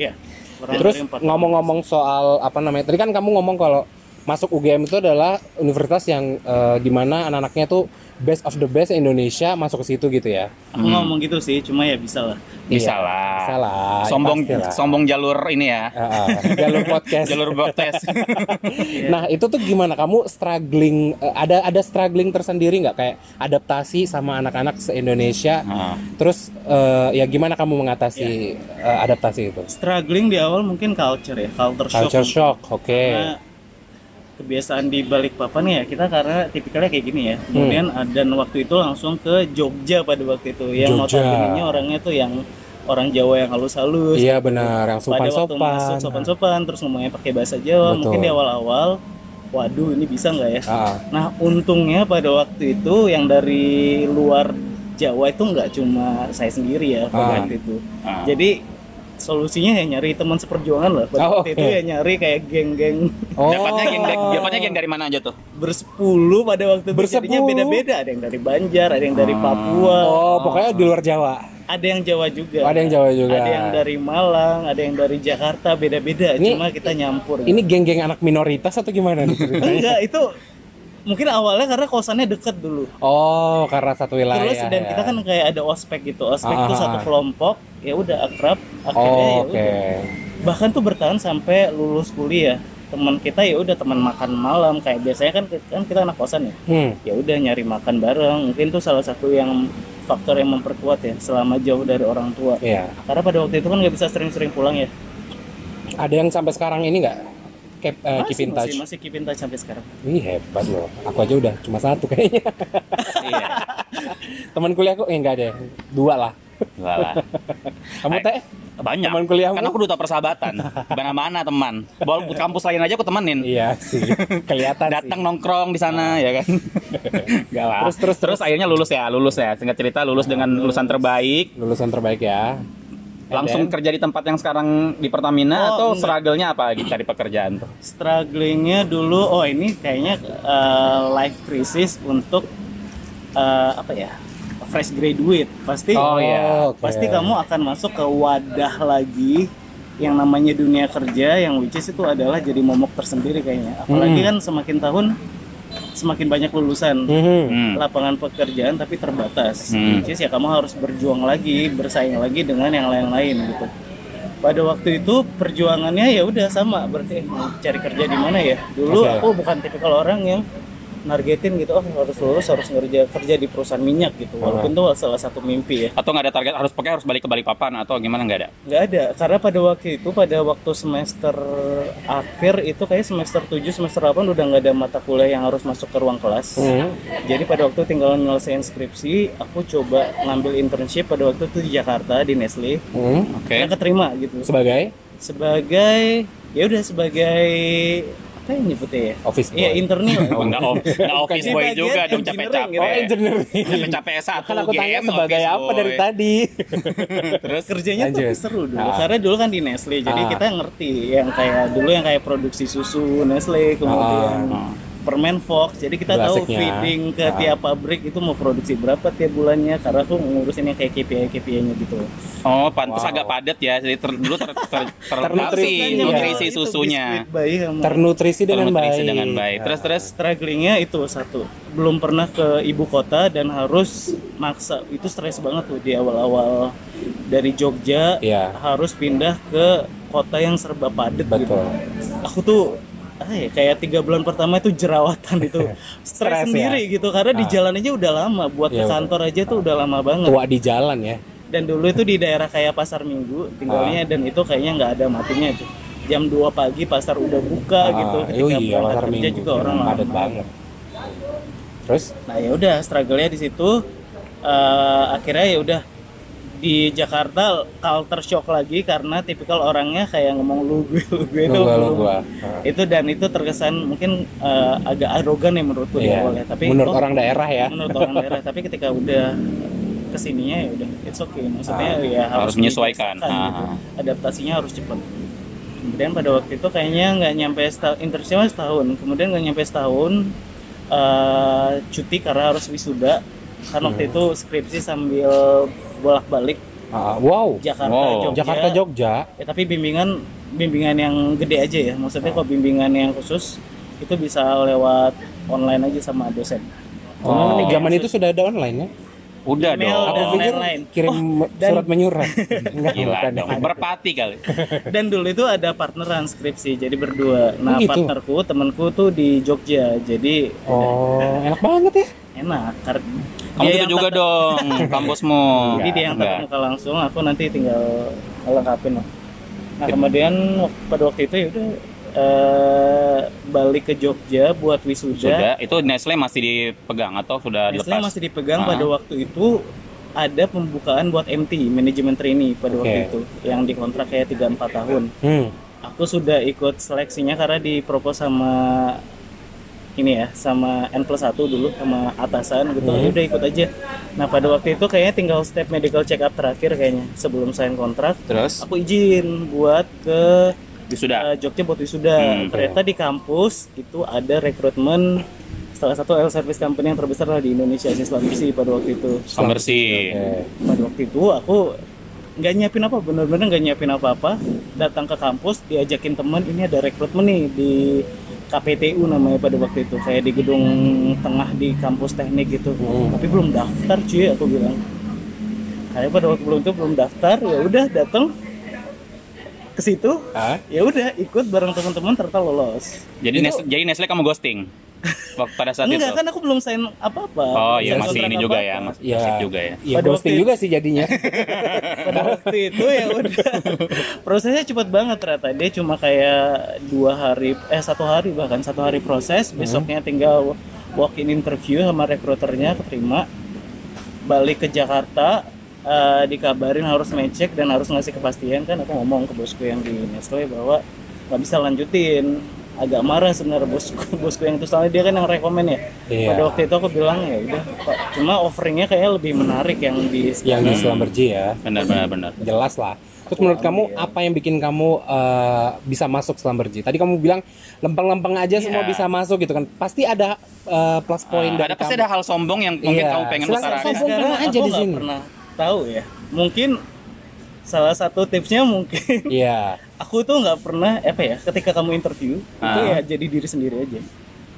Speaker 3: ya kurang
Speaker 1: Iya. Terus
Speaker 3: dari empat.
Speaker 1: ngomong-ngomong soal apa namanya? Tadi kan kamu ngomong kalau masuk UGM itu adalah universitas yang eh, dimana anak-anaknya tuh best of the best Indonesia masuk ke situ gitu ya
Speaker 3: Aku ngomong gitu sih, cuma ya bisa lah.
Speaker 4: Bisa
Speaker 1: Iya,
Speaker 4: lah.
Speaker 1: bisa lah, ya
Speaker 4: Sombong
Speaker 1: pasti lah.
Speaker 4: sombong jalur ini ya.
Speaker 1: Heeh, jalur podcast
Speaker 4: Jalur broadcast.
Speaker 1: nah
Speaker 3: Iya.
Speaker 1: itu tuh gimana kamu struggling eh, ada ada struggling tersendiri nggak kayak adaptasi sama anak-anak se Indonesia
Speaker 4: Nah,
Speaker 1: terus eh, ya gimana kamu
Speaker 3: Iya.
Speaker 1: mengatasi eh, adaptasi itu
Speaker 3: Struggling di awal mungkin culture ya, culture,
Speaker 1: culture
Speaker 3: shock. Nah,
Speaker 1: shock oke
Speaker 3: Karena kebiasaan di balik papan ya kita karena tipikalnya kayak gini ya.
Speaker 1: Hmm.
Speaker 3: Kemudian ah, dan waktu itu langsung ke Jogja pada waktu itu yang
Speaker 1: Jogja.
Speaker 3: notabene orangnya tuh yang orang Jawa yang halus-halus.
Speaker 1: iya benar yang
Speaker 3: pada
Speaker 1: sopan
Speaker 3: waktu masuk
Speaker 1: sopan
Speaker 3: sopan-sopan terus ngomongnya pakai bahasa Jawa
Speaker 1: Betul.
Speaker 3: mungkin di awal-awal waduh ini bisa nggak ya
Speaker 1: Ah,
Speaker 3: nah untungnya pada waktu itu yang dari luar Jawa itu nggak cuma saya sendiri ya pada
Speaker 1: Ah.
Speaker 3: waktu itu
Speaker 4: Ah.
Speaker 3: jadi solusinya ya nyari teman seperjuangan lah pada
Speaker 1: Oh,
Speaker 3: waktu
Speaker 1: oke.
Speaker 3: itu ya nyari kayak geng-geng
Speaker 1: oh
Speaker 4: Dapatnya geng dapatnya geng dari mana aja tuh?
Speaker 3: bersepuluh pada waktu itu
Speaker 1: Bersepuluh.
Speaker 3: jadinya beda-beda ada yang dari Banjar ada yang dari Papua
Speaker 1: oh pokoknya di luar Jawa
Speaker 3: ada yang Jawa juga
Speaker 1: ada yang Jawa juga
Speaker 3: ada yang dari Malang ada yang dari Jakarta beda-beda
Speaker 1: Ini-
Speaker 3: cuma kita nyampur
Speaker 1: ini geng-geng anak minoritas atau gimana nih ceritanya?
Speaker 3: Enggak, itu mungkin awalnya karena kosannya deket dulu.
Speaker 1: oh karena satu wilayah
Speaker 3: Terus dan
Speaker 1: ya.
Speaker 3: kita kan kayak ada ospek gitu. Ospek tuh
Speaker 1: Ah.
Speaker 3: satu kelompok, ya udah akrab, akhirnya
Speaker 1: oh,
Speaker 3: ya
Speaker 1: oke
Speaker 3: udah. Bahkan tuh bertahan sampai lulus kuliah. Teman kita ya udah teman makan malam kayak biasanya kan kan kita anak kosan ya.
Speaker 1: hmm.
Speaker 3: Ya udah nyari makan bareng. Mungkin tuh salah satu yang faktor yang memperkuat ya selama jauh dari orang tua.
Speaker 1: Iya.
Speaker 3: Karena pada waktu itu kan nggak bisa sering-sering pulang ya.
Speaker 1: ada yang sampai sekarang ini nggak keep, eh, keep
Speaker 3: Masih,
Speaker 1: in touch
Speaker 3: masih, masih keep in touch sampai sekarang.
Speaker 1: Wih hebat loh. Aku aja udah cuma satu kayaknya. Iya. Teman kuliah aku eh, enggak deh. Dua lah.
Speaker 4: Enggak lah.
Speaker 1: Kamu
Speaker 4: Hai.
Speaker 1: teh?
Speaker 4: Banyak.
Speaker 1: Teman kuliahmu?
Speaker 4: Karena aku duta persahabatan. Mana-mana teman. Bawa kampus lain aja aku temenin.
Speaker 1: Iya sih. Kelihatan
Speaker 4: Datang
Speaker 1: sih. Ah.
Speaker 4: nongkrong di sana ya kan. Enggak lah.
Speaker 1: Terus, terus, terus.
Speaker 4: akhirnya lulus ya, lulus ya. Singkat cerita lulus dengan
Speaker 1: Ah,
Speaker 4: lulusan terbaik.
Speaker 1: Lulusan terbaik ya.
Speaker 4: Langsung kerja di tempat yang sekarang di Pertamina
Speaker 3: Oh,
Speaker 4: atau
Speaker 3: enggak.
Speaker 4: struggle-nya apa lagi cari pekerjaan tuh?
Speaker 3: strugglingnya dulu oh ini kayaknya uh, life crisis untuk uh, apa ya fresh graduate pasti
Speaker 4: Oh, iya.
Speaker 1: oke.
Speaker 3: pasti kamu akan masuk ke wadah lagi yang namanya dunia kerja yang which is itu adalah jadi momok tersendiri kayaknya
Speaker 1: Hmm.
Speaker 3: apalagi kan semakin tahun semakin banyak lulusan
Speaker 1: Mhm.
Speaker 4: Hmm.
Speaker 3: lapangan pekerjaan tapi terbatas
Speaker 4: Hmm.
Speaker 3: which is ya kamu harus berjuang lagi bersaing lagi dengan yang lain-lain gitu pada waktu itu perjuangannya ya udah sama berarti eh, mau cari kerja di mana ya dulu
Speaker 1: Oke.
Speaker 3: aku bukan tipikal orang yang nargetin gitu oh harus lulus harus ngerja kerja di perusahaan minyak gitu walaupun itu salah satu mimpi ya
Speaker 4: Atau nggak ada target harus pakai harus balik ke balik papan atau gimana nggak ada?
Speaker 3: nggak ada karena pada waktu itu pada waktu semester akhir itu kayak semester 7 semester 8 udah nggak ada mata kuliah yang harus masuk ke ruang
Speaker 4: Hmm.
Speaker 3: kelas
Speaker 1: Mhm.
Speaker 3: jadi pada waktu tinggal nyelesain skripsi, aku coba ngambil internship pada waktu itu di Jakarta di Nestle.
Speaker 1: Mhm.
Speaker 4: Oke.
Speaker 3: Saya keterima gitu.
Speaker 1: Sebagai
Speaker 3: Sebagai ya udah sebagai apa yang nyebutnya ya?
Speaker 1: office boy.
Speaker 3: Iya, internil.
Speaker 4: Oh, Enggak, off, enggak office
Speaker 3: Di
Speaker 4: boy
Speaker 3: bagian
Speaker 4: juga dong
Speaker 3: engineering
Speaker 4: capek-capek.
Speaker 3: gitu.
Speaker 1: oh, engineering.
Speaker 4: Capek-capek S1
Speaker 1: Kan aku tanya
Speaker 4: GM,
Speaker 1: sebagai
Speaker 4: office
Speaker 1: apa
Speaker 4: boy.
Speaker 1: dari tadi.
Speaker 4: Terus
Speaker 3: Kerjanya tuh
Speaker 1: Lanjut.
Speaker 3: seru dulu.
Speaker 1: Ah.
Speaker 3: Karena dulu kan di Nestle, jadi
Speaker 1: Ah.
Speaker 3: kita ngerti yang kayak dulu yang kayak produksi susu Nestle, kemudian
Speaker 4: Ah.
Speaker 3: permen Fox. Jadi kita
Speaker 1: Itu
Speaker 3: tahu
Speaker 1: asiknya.
Speaker 3: feeding ke
Speaker 1: Ah.
Speaker 3: tiap pabrik itu mau produksi berapa tiap bulannya. Karena aku ngurusin yang kayak KPI-KPI-nya gitu.
Speaker 4: Oh, pantas
Speaker 1: Wow.
Speaker 4: agak padat ya. Jadi ter, dulu ter, ter, ter,
Speaker 1: Ternutrisi.
Speaker 4: terlengkapi
Speaker 1: Iya.
Speaker 4: nutrisi
Speaker 3: Itu
Speaker 4: susunya.
Speaker 3: biskuit bayi sama-
Speaker 1: Ternutrisi dengan
Speaker 4: Ternutrisi
Speaker 1: baik.
Speaker 4: dengan baik. Terus terus
Speaker 3: strugglingnya itu satu belum pernah ke ibu kota dan harus maksa itu stres banget tuh di awal-awal dari Jogja
Speaker 1: Iya.
Speaker 3: harus pindah ke kota yang serba padat gitu
Speaker 1: Betul.
Speaker 3: aku tuh ah ya, kayak tiga bulan pertama itu jerawatan itu
Speaker 1: Stres ya. Ah.
Speaker 3: stres sendiri gitu karena di jalan aja udah lama buat
Speaker 1: Iya,
Speaker 3: ke
Speaker 1: betul.
Speaker 3: kantor aja tuh udah lama banget
Speaker 1: Tua di jalan ya.
Speaker 3: dan dulu itu di daerah kayak pasar minggu tinggalnya
Speaker 1: Ah.
Speaker 3: dan itu kayaknya nggak ada matinya itu jam 2 pagi pasar udah buka
Speaker 1: Ah,
Speaker 3: gitu
Speaker 1: oh iya,
Speaker 3: berangkat
Speaker 1: pasar
Speaker 3: kerja
Speaker 1: minggu.
Speaker 3: juga orang
Speaker 1: Emang
Speaker 3: lama.
Speaker 1: padat banget. Terus
Speaker 3: nah ya udah struggle-nya di situ Eh, akhirnya ya udah di Jakarta culture shock lagi karena tipikal orangnya kayak ngomong lu gue lu gue itu
Speaker 1: lu gua, lu
Speaker 3: belum-
Speaker 1: gua.
Speaker 3: itu dan itu terkesan mungkin eh, agak arogan ya menurutku di
Speaker 1: Iya.
Speaker 3: awalnya tapi
Speaker 1: menurut
Speaker 3: oh,
Speaker 1: orang daerah ya.
Speaker 3: menurut orang daerah tapi ketika udah kesininya ya udah it's okay maksudnya ya
Speaker 4: Ah, harus menyesuaikan.
Speaker 3: dibiasakan gitu.
Speaker 4: Ah.
Speaker 3: adaptasinya harus cepat kemudian pada waktu itu kayaknya nggak nyampe setahun internshipnya setahun kemudian nggak nyampe setahun eh, cuti karena harus wisuda karena waktu
Speaker 1: Iya.
Speaker 3: itu skripsi sambil bolak-balik
Speaker 1: Ah, wow.
Speaker 3: Jakarta
Speaker 4: Wow.
Speaker 3: Jogja
Speaker 1: Jakarta Jogja.
Speaker 4: Ah.
Speaker 3: ya tapi bimbingan bimbingan yang gede aja ya maksudnya kalau bimbingan yang khusus itu bisa lewat online aja sama dosen.
Speaker 1: Oh,
Speaker 3: iya,
Speaker 1: zaman itu sudah ada online ya?
Speaker 2: Udah
Speaker 3: Email kan?
Speaker 2: dong.
Speaker 1: Aku
Speaker 3: dan
Speaker 1: pikir
Speaker 3: lain-lain.
Speaker 1: kirim
Speaker 3: Oh, dan-
Speaker 1: surat menyurat. Enggak,
Speaker 2: Gila
Speaker 1: bukan.
Speaker 2: dong. Berpati kali.
Speaker 3: Dan dulu itu ada partneran skripsi, jadi berdua. Nah,
Speaker 1: gitu?
Speaker 3: partnerku, temanku tuh di Jogja, jadi
Speaker 1: Oh, enak banget ya.
Speaker 3: enak. Kar-
Speaker 2: Kamu
Speaker 3: dia
Speaker 2: gitu
Speaker 3: yang
Speaker 2: juga
Speaker 3: tatap-
Speaker 2: dong Iya, kampusmu.
Speaker 3: Jadi dia yang tatap muka langsung, aku nanti tinggal lengkapin lah. Nah, kemudian wak- pada waktu itu ya udah eh, balik ke Jogja buat wisuda.
Speaker 2: Sudah, itu Nestle masih dipegang atau sudah
Speaker 3: Nestle
Speaker 2: dilepas?
Speaker 3: masih
Speaker 2: Ah.
Speaker 3: dipegang pada waktu itu ada pembukaan buat MT, manajemen trainee pada waktu
Speaker 1: Oke.
Speaker 3: itu yang dikontrak kayak 3 4 tahun.
Speaker 1: Hmm.
Speaker 3: aku sudah ikut seleksinya karena dipropos sama ini ya sama N plus 1 dulu sama atasan gitu
Speaker 1: Hmm.
Speaker 3: udah ikut aja nah pada waktu itu kayaknya tinggal step medical check up terakhir kayaknya sebelum sign kontrak
Speaker 2: Terus
Speaker 3: aku izin buat ke
Speaker 2: wisuda.
Speaker 3: eh, Jogja buat wisuda
Speaker 2: Ya. Hmm.
Speaker 3: ternyata di kampus itu ada rekrutmen salah satu air service company yang terbesar lah di Indonesia sih Islam Bersih pada waktu itu
Speaker 2: Pembersih.
Speaker 1: Eh,
Speaker 3: pada waktu itu aku nggak nyiapin apa bener-bener nggak nyiapin apa-apa datang ke kampus diajakin temen ini ada rekrutmen nih di KPTU namanya pada waktu itu kayak di gedung tengah di kampus teknik gitu
Speaker 1: Hmm.
Speaker 3: tapi belum daftar cuy aku bilang kayak pada waktu belum itu belum daftar ya udah datang ke situ
Speaker 1: ah,
Speaker 3: ya udah ikut bareng teman-teman ternyata lolos
Speaker 2: Jadi
Speaker 3: Itu-
Speaker 2: Nestle, jadi Nestle kamu ghosting waktu pada saat
Speaker 3: enggak
Speaker 2: itu.
Speaker 3: kan aku belum sign apa-apa
Speaker 2: Oh iya
Speaker 3: Sign
Speaker 2: masih
Speaker 3: kontrak
Speaker 2: ini juga
Speaker 3: apa-apa.
Speaker 2: ya, masih
Speaker 1: Ya.
Speaker 2: gosip juga ya.
Speaker 1: ya
Speaker 3: Pada
Speaker 1: ghosting
Speaker 3: waktu itu-
Speaker 1: juga sih jadinya.
Speaker 3: pada waktu itu ya udah prosesnya cepet banget ternyata dia cuma kayak dua hari eh satu hari bahkan satu hari proses besoknya tinggal walk in interview sama rekruternya keterima balik ke Jakarta eh, dikabarin harus mecek dan harus ngasih kepastian kan aku ngomong ke bosku yang di Nestle bahwa nggak bisa lanjutin agak marah sebenarnya bosku bosku yang itu soalnya dia kan yang rekomen ya
Speaker 1: Iya.
Speaker 3: pada waktu itu aku bilang ya udah Pak." cuma offeringnya kayaknya lebih menarik yang di
Speaker 1: Yang di Slamberji ya.
Speaker 2: Benar benar benar.
Speaker 1: Jelas lah. Terus menurut kamu apa yang bikin kamu eh, bisa masuk Slamberji? Tadi kamu bilang lempeng-lempeng aja semua bisa masuk gitu kan. Pasti ada eh, plus point
Speaker 2: Ah,
Speaker 1: dari
Speaker 2: ada pasti
Speaker 1: kamu.
Speaker 2: ada hal sombong yang mungkin
Speaker 1: Iya.
Speaker 2: kamu pengen
Speaker 1: Silakan,
Speaker 2: utarakan.
Speaker 1: sombong.
Speaker 3: Sekarang
Speaker 1: pernah aja
Speaker 3: aku
Speaker 1: di
Speaker 3: nggak
Speaker 1: sini.
Speaker 3: pernah tahu ya mungkin salah satu tipsnya mungkin
Speaker 1: Iya.
Speaker 3: aku tuh nggak pernah apa ya ketika kamu interview itu ya jadi diri sendiri aja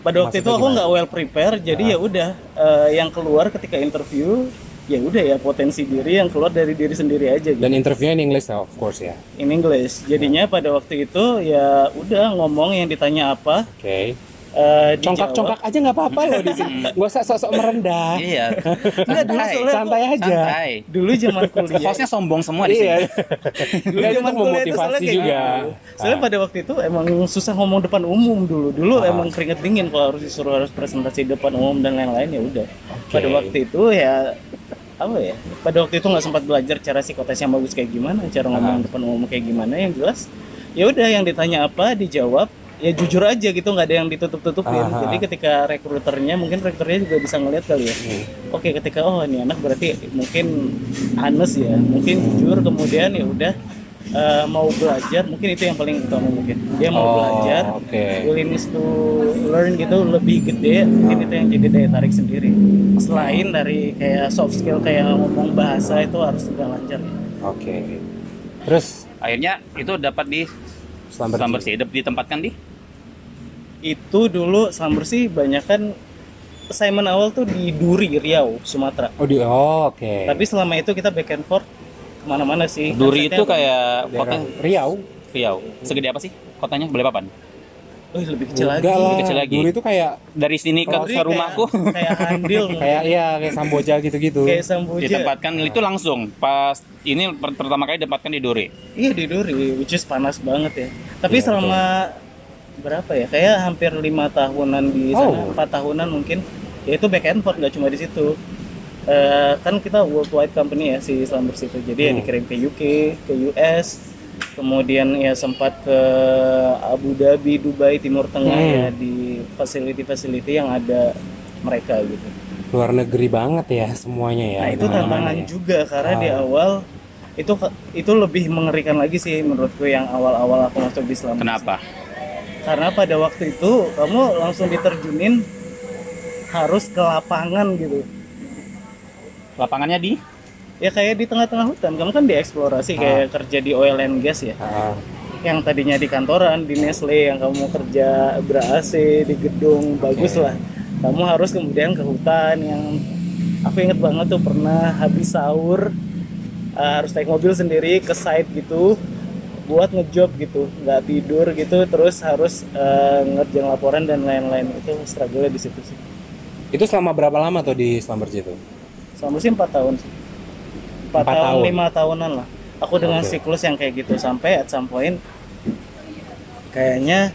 Speaker 3: pada waktu itu
Speaker 1: Ah. Maksudnya
Speaker 3: aku
Speaker 1: gimana? Ah.
Speaker 3: nggak well prepare jadi ya udah eh, yang keluar ketika interview ya udah ya potensi diri yang keluar dari diri sendiri aja gitu.
Speaker 1: Dan interviewnya in English of course ya.
Speaker 3: in English jadinya pada waktu itu ya udah ngomong yang ditanya apa
Speaker 1: Oke.
Speaker 3: eh, dijawab.
Speaker 1: Congkak-congkak aja nggak apa-apa loh di sini. Gak usah sok-sok merendah.
Speaker 2: Iya.
Speaker 3: Nggak, dulu
Speaker 2: Santai.
Speaker 3: soalnya aku-
Speaker 1: Santai aja.
Speaker 2: Santai.
Speaker 3: dulu zaman kuliah
Speaker 2: Hostnya sombong semua di sini.
Speaker 1: Iya.
Speaker 3: dulu
Speaker 1: Dan itu
Speaker 3: zaman kuliah itu soalnya
Speaker 1: memotivasi
Speaker 3: kayak
Speaker 1: juga. Ah,
Speaker 3: gitu. Soalnya pada waktu itu emang susah ngomong depan umum dulu. Dulu emang keringet dingin kalau harus disuruh harus presentasi depan umum dan lain-lain ya udah. Pada waktu itu ya apa ya? Pada waktu itu nggak sempat belajar cara psikotes yang bagus kayak gimana, cara
Speaker 1: Ah.
Speaker 3: ngomong depan umum kayak gimana yang jelas. Ya udah yang ditanya apa dijawab ya jujur aja gitu nggak ada yang ditutup-tutupin.
Speaker 1: Aha.
Speaker 3: Jadi ketika rekruternya mungkin rekruternya juga bisa ngeliat kali ya.
Speaker 1: hmm.
Speaker 3: Oke, ketika oh ini anak berarti mungkin anes ya, mungkin jujur kemudian ya udah eh, mau belajar mungkin itu yang paling utama mungkin dia mau
Speaker 1: Oh,
Speaker 3: belajar
Speaker 1: oke.
Speaker 3: willingness to learn gitu lebih gede mungkin itu yang jadi daya tarik sendiri selain dari kayak soft skill kayak ngomong bahasa itu harus udah lancar ya.
Speaker 1: Oke. Terus
Speaker 2: Akhirnya itu dapat di
Speaker 1: Slamberji.
Speaker 2: Slamber sih, ditempatkan di
Speaker 3: itu dulu Slamber sih banyak kan assignment awal tuh di Duri Riau Sumatera
Speaker 1: Oh, di, oh oke.
Speaker 3: tapi selama itu kita back and forth kemana-mana sih
Speaker 2: Duri
Speaker 3: Konsepnya
Speaker 2: itu
Speaker 3: apa?
Speaker 2: kayak kota
Speaker 1: Daerah Riau.
Speaker 2: Riau. Segede apa sih kotanya? Balikpapan.
Speaker 3: Wih, lebih kecil lagi
Speaker 1: Enggak lah.
Speaker 2: Lebih kecil lagi.
Speaker 1: Duri itu kayak
Speaker 2: Dari sini ke,
Speaker 3: Duri
Speaker 2: ke rumahku
Speaker 3: kayak, kayak andil
Speaker 1: kayak iya kayak Samboja gitu-gitu.
Speaker 3: kayak sambuja
Speaker 2: ditempatkan itu langsung pas ini per- pertama kali ditempatkan di Duri.
Speaker 3: Iya di Duri, which is panas banget ya. Tapi
Speaker 1: Iya,
Speaker 3: selama berapa ya? Kayak hampir lima tahunan di sana,
Speaker 1: Oh.
Speaker 3: empat tahunan mungkin. Ya itu back and forth nggak cuma di situ. Eh, kan kita worldwide company ya si Islam Bersih itu. Jadi
Speaker 1: Hmm.
Speaker 3: ya dikirim ke UK, ke US, kemudian ya sempat ke Abu Dhabi, Dubai, Timur Tengah
Speaker 1: Hmm.
Speaker 3: ya di facility-facility yang ada mereka gitu.
Speaker 1: Luar negeri banget ya semuanya ya.
Speaker 3: Nah itu
Speaker 1: dimana-mana
Speaker 3: tantangan
Speaker 1: ya.
Speaker 3: juga karena di awal itu itu lebih mengerikan lagi sih menurutku yang awal-awal aku masuk di Islam.
Speaker 2: Kenapa?
Speaker 3: Karena pada waktu itu kamu langsung diterjunin harus ke lapangan gitu.
Speaker 2: Lapangannya di
Speaker 3: Ya kayak di tengah-tengah hutan, kamu kan dieksplorasi kayak kerja di oil and gas ya.
Speaker 1: Ah,
Speaker 3: yang tadinya di kantoran di Nestle yang kamu kerja ber AC di gedung bagus lah kamu harus kemudian ke hutan yang aku inget banget tuh pernah habis sahur eh, harus naik mobil sendiri ke site gitu buat ngejob gitu nggak tidur gitu terus harus eh, ngerjain laporan dan lain-lain itu struggle di situ sih
Speaker 1: Itu selama berapa lama tuh di Slumberjee itu?
Speaker 3: selama sih empat tahun sih. empat
Speaker 1: Empat
Speaker 3: tahun
Speaker 1: tahun.
Speaker 3: lima tahunan lah aku dengan
Speaker 1: Oke.
Speaker 3: siklus yang kayak gitu sampai at some point kayaknya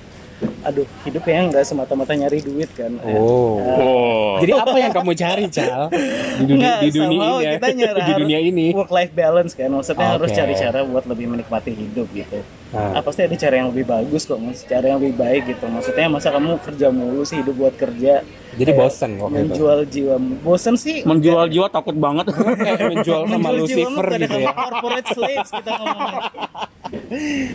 Speaker 3: aduh hidup ya nggak semata-mata nyari duit kan
Speaker 1: Oh.
Speaker 2: Oh.
Speaker 1: Jadi apa yang kamu cari, Cal? Di, duni-
Speaker 3: Nggak,
Speaker 1: di dunia
Speaker 3: somehow
Speaker 1: ini ya.
Speaker 3: kita nyara
Speaker 1: Di dunia ini.
Speaker 3: work life balance kan maksudnya harus
Speaker 1: Oke.
Speaker 3: cari cara buat lebih menikmati hidup gitu
Speaker 1: Nah,
Speaker 3: Ah, pasti ada cara yang lebih bagus kok mas cara yang lebih baik gitu maksudnya masa kamu kerja mulu sih hidup buat kerja
Speaker 1: jadi
Speaker 3: Kayak
Speaker 1: bosen waktu itu.
Speaker 3: menjual jiwa bosen sih
Speaker 2: Menjual jiwa takut banget.
Speaker 1: Eh, menjual sama
Speaker 3: Menjual jiwa
Speaker 1: Lucifer
Speaker 3: mah pada
Speaker 1: gitu ya.
Speaker 3: corporate slaves kita ngomongnya.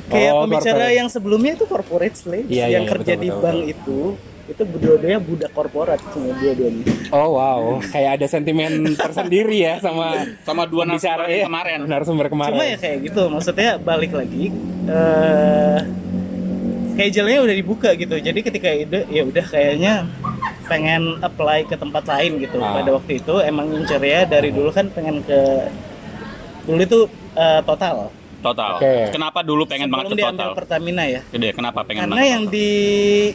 Speaker 3: Kayak
Speaker 1: Oh,
Speaker 3: pembicara
Speaker 1: corporate.
Speaker 3: yang sebelumnya itu corporate slaves
Speaker 1: Iya,
Speaker 3: yang
Speaker 1: iya,
Speaker 3: kerja
Speaker 1: betul,
Speaker 3: di
Speaker 1: betul,
Speaker 3: bank itu itu dua-duanya budak korporat semua dua-duanya.
Speaker 1: Oh wow, kayak ada sentimen tersendiri ya sama
Speaker 2: Sama dua
Speaker 1: bicara
Speaker 2: narasumber yang kemarin.
Speaker 1: Narasumber kemarin.
Speaker 3: Cuma ya kayak gitu, maksudnya balik lagi eh kayak jalannya udah dibuka gitu. Jadi ketika ide ya udah kayaknya pengen apply ke tempat lain gitu.
Speaker 1: Ah.
Speaker 3: Pada waktu itu emang ngincer ya dari dulu kan pengen ke dulu itu eh, total.
Speaker 2: Total.
Speaker 1: Oke.
Speaker 2: Kenapa dulu pengen
Speaker 3: Sebelum
Speaker 2: banget ke
Speaker 3: diambil
Speaker 2: total?
Speaker 3: Pertamina ya.
Speaker 2: Gede, kenapa pengen
Speaker 3: Karena
Speaker 2: banget?
Speaker 3: yang di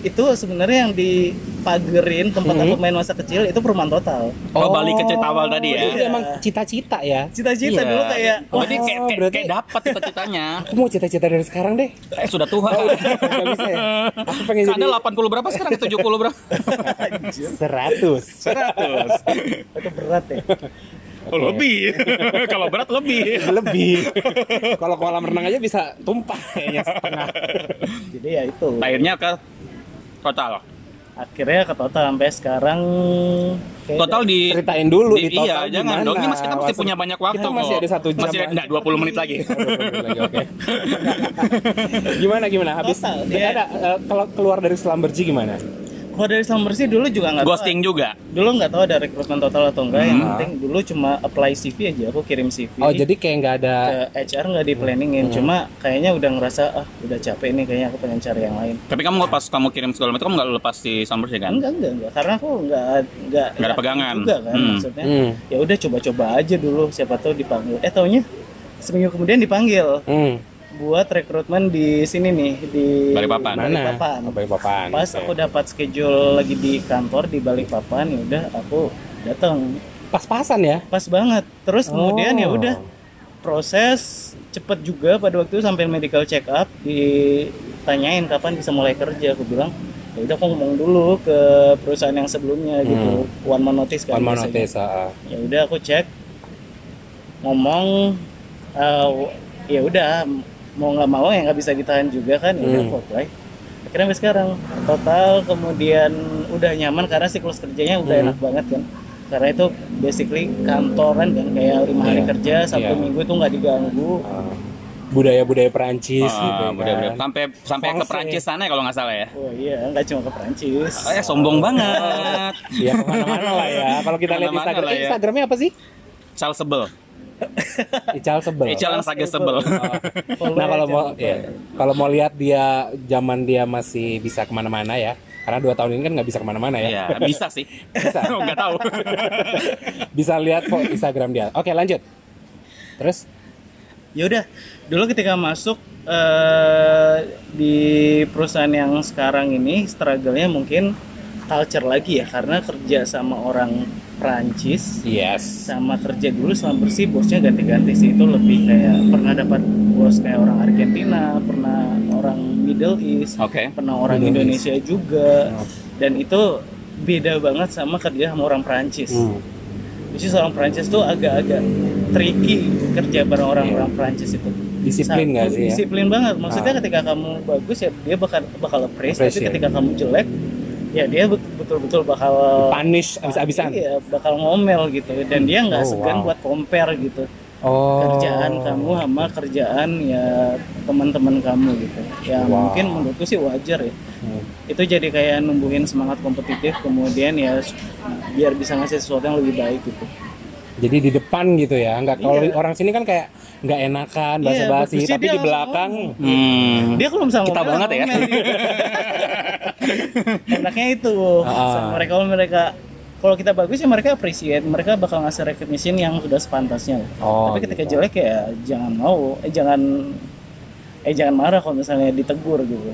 Speaker 3: itu sebenarnya yang dipagerin tempat
Speaker 2: Mm-hmm.
Speaker 3: aku main masa kecil itu perumahan total.
Speaker 2: Oh, balik ke cerita awal tadi ya.
Speaker 1: Jadi emang cita-cita ya.
Speaker 3: Cita-cita
Speaker 2: Iya.
Speaker 3: iya. dulu kayak
Speaker 2: Oh, jadi
Speaker 1: wah,
Speaker 2: kayak kayak,
Speaker 1: berarti-
Speaker 2: kayak dapat cita-citanya.
Speaker 1: Aku mau cita-cita dari sekarang deh.
Speaker 2: Eh, sudah tua.
Speaker 3: Oh, iya.
Speaker 1: Gak bisa ya. Aku pengen jadi
Speaker 2: Ada 80 berapa sekarang? 70 berapa?
Speaker 1: 100.
Speaker 2: 100.
Speaker 3: itu berat ya.
Speaker 2: Oh, lebih. Kalau berat lebih.
Speaker 1: lebih. Kalau kolam renang aja bisa tumpah kayaknya setengah.
Speaker 3: Jadi ya itu.
Speaker 2: Akhirnya ke total.
Speaker 3: Akhirnya ke total sampai sekarang kayak
Speaker 2: Total di
Speaker 1: Ceritain dulu di, total
Speaker 2: iya, jangan
Speaker 1: gimana.
Speaker 2: dong. Ini mas kita masih
Speaker 1: Maksud-
Speaker 2: punya banyak waktu.
Speaker 1: Kita masih
Speaker 2: kok.
Speaker 1: ada satu jam
Speaker 2: Masih ada
Speaker 1: lagi.
Speaker 2: enggak, 20 menit lagi.
Speaker 1: Lagi, oke. gimana gimana habis
Speaker 3: Total,
Speaker 1: nggak
Speaker 3: dia-
Speaker 1: ada eh, kalau keluar dari Slumberjee gimana?
Speaker 3: Kalau dari Summer sih dulu juga nggak tahu.
Speaker 2: Ghosting Mm-hmm. juga.
Speaker 3: Dulu nggak tahu ada rekrutmen total atau enggak. Yang
Speaker 1: Hmm.
Speaker 3: penting dulu cuma apply CV aja. Aku kirim CV.
Speaker 1: Oh jadi kayak nggak ada
Speaker 3: ke HR nggak di planningin.
Speaker 2: Mm-hmm.
Speaker 3: Cuma kayaknya udah ngerasa ah udah capek nih. Kayaknya aku pengen cari yang lain.
Speaker 2: Tapi kamu pas kamu kirim segala macam kamu nggak lepas di Sunburst ya kan?
Speaker 3: Enggak enggak enggak. Karena aku nggak nggak
Speaker 2: Nggak ada
Speaker 3: yakin
Speaker 2: pegangan.
Speaker 3: juga kan
Speaker 2: Hmm.
Speaker 3: maksudnya.
Speaker 1: Hmm.
Speaker 3: Ya udah coba-coba aja dulu. Siapa tahu dipanggil. Eh taunya seminggu kemudian dipanggil
Speaker 1: hmm,
Speaker 3: buat rekrutmen di sini nih di
Speaker 2: Balikpapan.
Speaker 1: mana?
Speaker 3: Balikpapan.
Speaker 1: Oh, Balikpapan.
Speaker 3: Pas
Speaker 1: Oke.
Speaker 3: aku dapat schedule lagi di kantor di Balikpapan, ya udah aku datang.
Speaker 1: Pas-pasan ya.
Speaker 3: Pas banget. Terus
Speaker 1: Oh.
Speaker 3: kemudian ya udah proses cepet juga pada waktu itu sampai medical check up ditanyain kapan bisa mulai kerja. Aku bilang ya udah aku ngomong dulu ke perusahaan yang sebelumnya gitu. One man notice kan.
Speaker 1: Hmm. One man
Speaker 3: biasanya.
Speaker 1: notice. ah, ah.
Speaker 3: Ya udah aku cek ngomong eh, ya udah mau nggak mau yang nggak bisa ditahan juga kan ya udah
Speaker 1: Hmm.
Speaker 3: aku apply akhirnya sampai sekarang total kemudian udah nyaman karena siklus kerjanya udah
Speaker 1: Hmm.
Speaker 3: enak banget kan karena itu basically kantoran kan kayak lima hari
Speaker 1: Iya.
Speaker 3: kerja sabtu
Speaker 1: Iya.
Speaker 3: minggu itu nggak diganggu
Speaker 1: Ah. budaya-budaya Perancis gitu
Speaker 2: Ah,
Speaker 1: kan.
Speaker 2: budaya-budaya. Sampai sampai ke
Speaker 1: Fangse.
Speaker 2: Prancis sana ya kalau nggak salah ya.
Speaker 3: oh iya nggak cuma ke Perancis
Speaker 1: Nah,
Speaker 2: Oh, ya sombong banget.
Speaker 1: Iya kemana-mana lah ya. Kalau kita lihat
Speaker 2: Kemana-mana
Speaker 1: Instagram,
Speaker 2: lah
Speaker 1: eh,
Speaker 2: ya.
Speaker 1: Instagramnya apa sih?
Speaker 2: Cal sebel.
Speaker 1: Ical sebel.
Speaker 2: Ical yang
Speaker 1: ya,
Speaker 2: sage sebel.
Speaker 1: Nah kalau mau ya, kalau mau lihat dia zaman dia masih bisa kemana-mana ya, karena dua tahun ini kan nggak bisa kemana-mana ya.
Speaker 2: Iya, bisa sih.
Speaker 1: Bisa.
Speaker 2: Nggak tahu.
Speaker 1: Bisa lihat kok Instagram dia. Oke lanjut. Terus
Speaker 3: ya udah dulu ketika masuk eh, di perusahaan yang sekarang ini struggle-nya mungkin culture lagi ya karena kerja sama orang Prancis
Speaker 1: yes.
Speaker 3: sama kerja dulu sama bersih bosnya ganti-ganti sih itu lebih kayak pernah dapat bos kayak orang Argentina pernah orang Middle East
Speaker 2: Oke.
Speaker 3: pernah orang
Speaker 1: Middle
Speaker 3: Indonesia juga dan itu beda banget sama kerja sama orang Prancis
Speaker 1: Hmm.
Speaker 3: Which is orang Prancis tuh agak-agak tricky kerja bareng orang-orang Prancis itu.
Speaker 1: Iya. Disiplin nggak
Speaker 3: Satu,
Speaker 1: sih ya?
Speaker 3: Disiplin banget. Maksudnya
Speaker 1: Ah.
Speaker 3: ketika kamu bagus ya dia bakal bakal appraise, tapi
Speaker 1: Appreciate.
Speaker 3: ketika kamu jelek ya dia bet- betul-betul bakal
Speaker 1: Punish abis-abisan.
Speaker 3: Iya, bakal ngomel gitu dan dia nggak
Speaker 1: Oh,
Speaker 3: segan
Speaker 1: wow.
Speaker 3: buat compare gitu
Speaker 1: Oh.
Speaker 3: kerjaan kamu sama kerjaan ya teman-teman kamu gitu. Ya
Speaker 1: Wow.
Speaker 3: mungkin menurutku sih wajar ya
Speaker 1: Hmm.
Speaker 3: itu jadi kayak numbuhin semangat kompetitif kemudian ya s- biar bisa ngasih sesuatu yang lebih baik gitu
Speaker 1: Jadi di depan gitu ya, nggak kalau
Speaker 3: Iya.
Speaker 1: orang sini kan kayak nggak enakan basa-basi,
Speaker 3: bagus sih
Speaker 1: tapi di
Speaker 3: dia langsung
Speaker 1: belakang
Speaker 2: Hmm.
Speaker 3: dia kalau misalnya
Speaker 2: Kita
Speaker 3: ngomel,
Speaker 2: banget ya.
Speaker 3: ngomel. enaknya itu
Speaker 1: Ah.
Speaker 3: Sama mereka kalau mereka kalau kita bagus ya mereka appreciate mereka bakal ngasih recognition yang sudah sepantasnya lah.
Speaker 1: Oh,
Speaker 3: tapi ketika
Speaker 1: gitu.
Speaker 3: jelek ya jangan mau eh jangan eh jangan marah kalau misalnya ditegur gitu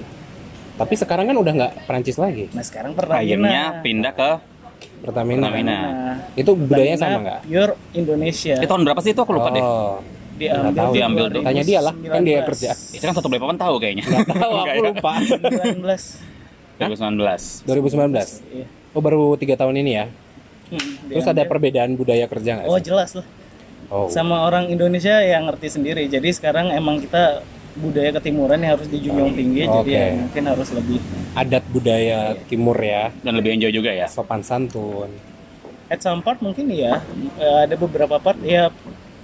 Speaker 1: tapi sekarang kan udah nggak Prancis lagi
Speaker 3: nah sekarang
Speaker 2: Akhirnya
Speaker 3: Pertamina
Speaker 2: pindah ke
Speaker 1: Pertamina.
Speaker 2: Pertamina.
Speaker 1: Itu budayanya sama
Speaker 3: Pertamina
Speaker 1: nggak?
Speaker 3: pure Indonesia
Speaker 2: Eh, tahun berapa sih itu aku lupa deh.
Speaker 1: Oh, Nggak tahu.
Speaker 2: Diambil deh.
Speaker 1: Tanya dia lah, kan dia kerja.
Speaker 2: Itu kan satu papan tahu kayaknya. ya?
Speaker 1: nggak tahu aku lupa.
Speaker 3: 19
Speaker 2: 2019.
Speaker 1: 2019.
Speaker 3: Iya.
Speaker 1: Oh baru tiga tahun ini ya.
Speaker 3: Hmm,
Speaker 1: Terus
Speaker 3: diambil.
Speaker 1: ada perbedaan budaya kerja nggak?
Speaker 3: Oh
Speaker 1: sih?
Speaker 3: jelas lah
Speaker 1: oh.
Speaker 3: sama orang Indonesia yang ngerti sendiri. Jadi sekarang emang kita budaya ketimuran yang harus dijunjung tinggi. Jadi
Speaker 1: Oke.
Speaker 3: ya mungkin harus lebih
Speaker 1: Adat budaya timur ya,
Speaker 2: Dan lebih enjoy juga ya.
Speaker 1: sopan santun.
Speaker 3: at some part mungkin ya eh, ada beberapa part ya